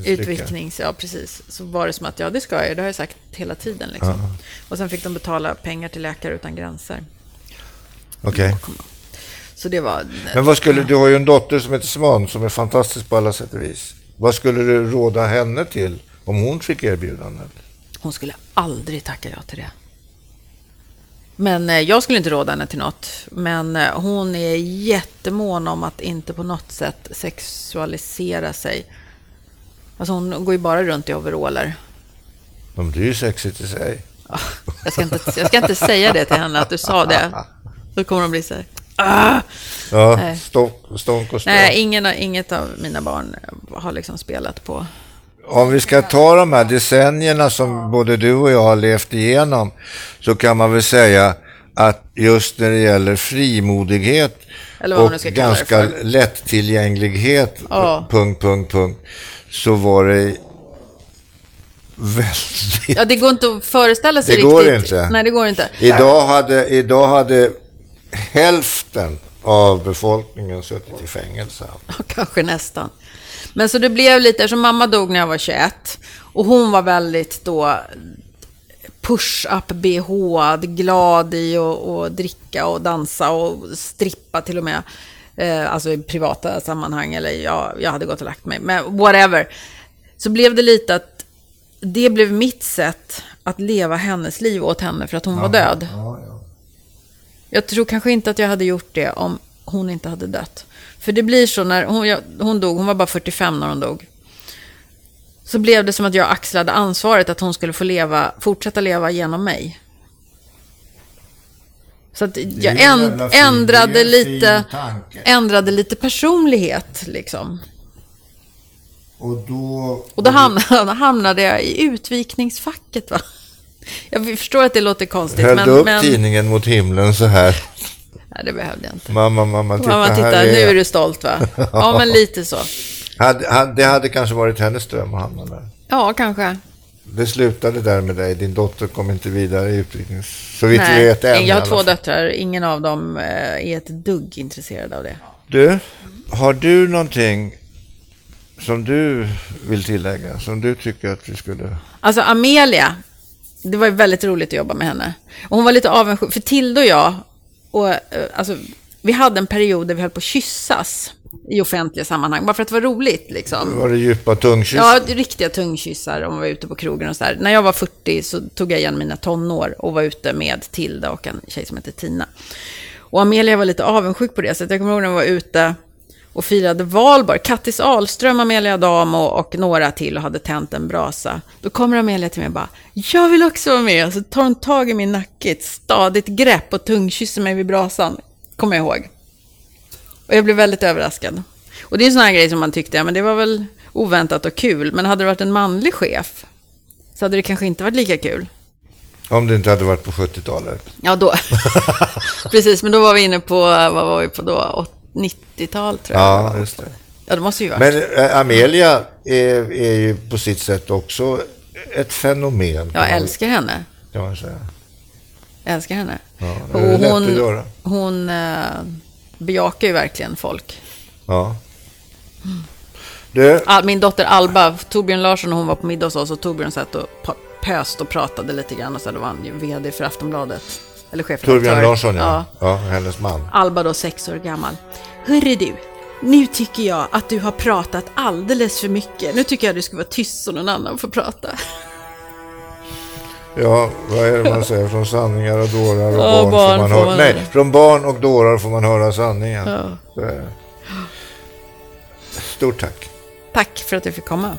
Utviknings, ja precis. Så var det som att, ja det ska jag ju, det har jag sagt hela tiden. Liksom. Och sen fick de betala pengar till Läkare Utan Gränser.
Okej.
Så det var...
Men vad skulle, du har ju en dotter som heter Sman som är fantastisk på alla sätt och vis. Vad skulle du råda henne till om hon fick erbjudandet?
Hon skulle aldrig tacka ja till det. Men eh, jag skulle inte råda henne till något. Men eh, hon är jättemån om att inte på något sätt sexualisera sig. Alltså hon går ju bara runt i overaller.
Ja, men det är ju sexigt i sig.
Ah, Jag ska, inte, jag ska inte säga det till henne, att du sa det. Då kommer hon bli så här... Ah!
Ja,
Nej.
stånk, stånk och stånk.
Nej, ingen, av- inget av mina barn har liksom spelat på...
Om vi ska ta de här decennierna som både du och jag har levt igenom så kan man väl säga att just när det gäller frimodighet
Eller vad man nu
och
ska kalla det
ganska
för.
lättillgänglighet,
Ja.
punkt, punkt, punkt, så var det väldigt...
Ja, det går inte att föreställa sig
Det
riktigt.
går inte.
Nej, det går inte.
Idag hade, idag hade hälften av befolkningen suttit i fängelse.
Ja, Kanske nästan. Men så det blev lite, eftersom mamma dog när jag var 21 och hon var väldigt då push-up bh glad i och, och dricka och dansa och strippa till och med. Eh, alltså i privata sammanhang eller jag, jag hade gått och lagt mig, men whatever. Så blev det lite att det blev mitt sätt att leva hennes liv åt henne för att hon var död.
Ja, ja.
Jag tror kanske inte att jag hade gjort det om hon inte hade dött. För det blir så när hon, jag, hon dog, hon var bara 45 när hon dog. Så blev det som att jag axlade ansvaret att hon skulle få leva, fortsätta leva genom mig. Så att jag
ju en
änd-
jävla fin- det
ändrade,
är en fin
lite,
tanke.
ändrade lite personlighet liksom.
Och då...
Och då hamnade, hamnade jag i utvikningsfacket va. Jag förstår att det låter konstigt
Höll
men...
du upp
men
tidningen mot himlen så här?
nej, det behövde jag inte.
Mamma, mamma, titta,
Mamma, titta,
Typ här
nu
är
är
jag.
du stolt va? Ja, men lite så.
Hade, hade, det hade kanske varit hennes dröm att hamna där.
Ja, kanske.
Det slutade där med dig, din dotter kom inte vidare i utbildningen. Så vitt vi
Nej,
vet än. i
jag har
alla
två
fall.
döttrar, ingen av dem eh, är ett dugg intresserad av det.
Du, har du någonting som du vill tillägga? Som du tycker att vi skulle...
Alltså Amelia, det var ju väldigt roligt att jobba med henne. Och hon var lite avundsjuk, för Tilde och jag, och, eh, alltså, vi hade en period där vi höll på att kyssas i offentliga sammanhang, bara för att det var roligt liksom.
Var det djupa tungkyss?
Ja, riktiga tungkyssar om vi var ute på krogen och sådär. När jag var 40 så tog jag igen mina tonår och var ute med Tilda och en tjej som hette Tina. Och Amelia var lite avundsjuk på det, så att jag kommer ihåg när vi var ute och firade valborg. Kattis Ahlström, Amelia Dam och, och några till och hade tänt en brasa. Då kommer Amelia till mig och bara, jag vill också vara med. Så tar hon tag i min nacke i ett stadigt grepp och tungkysser mig vid brasan. Kommer jag ihåg. Och jag blev väldigt överraskad. Och det är en sån här grej som man tyckte, ja men det var väl oväntat och kul. Men hade det varit en manlig chef så hade det kanske inte varit lika kul.
Om det inte hade varit på 70-talet.
Ja, då. Precis, men då var vi inne på, vad var vi på då? Åt- 90-tal tror jag.
Ja, just det.
Ja, det måste ju vara.
Men eh, Amelia är, är ju på sitt sätt också ett fenomen.
jag älskar henne.
Kan man säga.
Jag älskar henne.
Ja, det
och
är lätt att
hon,
göra.
hon eh, bejakar ju verkligen folk.
Ja. Du,
Al- Min dotter Alba, Torbjörn Larsson, hon var på middag hos oss och Torbjörn satt och pa- pöst och pratade lite grann och så då var han ju vd för Aftonbladet. Eller chefredaktör.
Torbjörn Larsson ja. ja. hennes man.
Alba då sex år gammal. Hörru du, nu tycker jag att du har pratat alldeles för mycket. Nu tycker jag du ska vara tyst så någon annan får prata.
Ja, vad är det man säger? Från sanningar och dårar och
Ja,
barn, får
barn
man
får
höra...
man-
Nej, från barn och dårar får man höra sanningen. Så är det. Stort tack.
Tack för att du fick komma.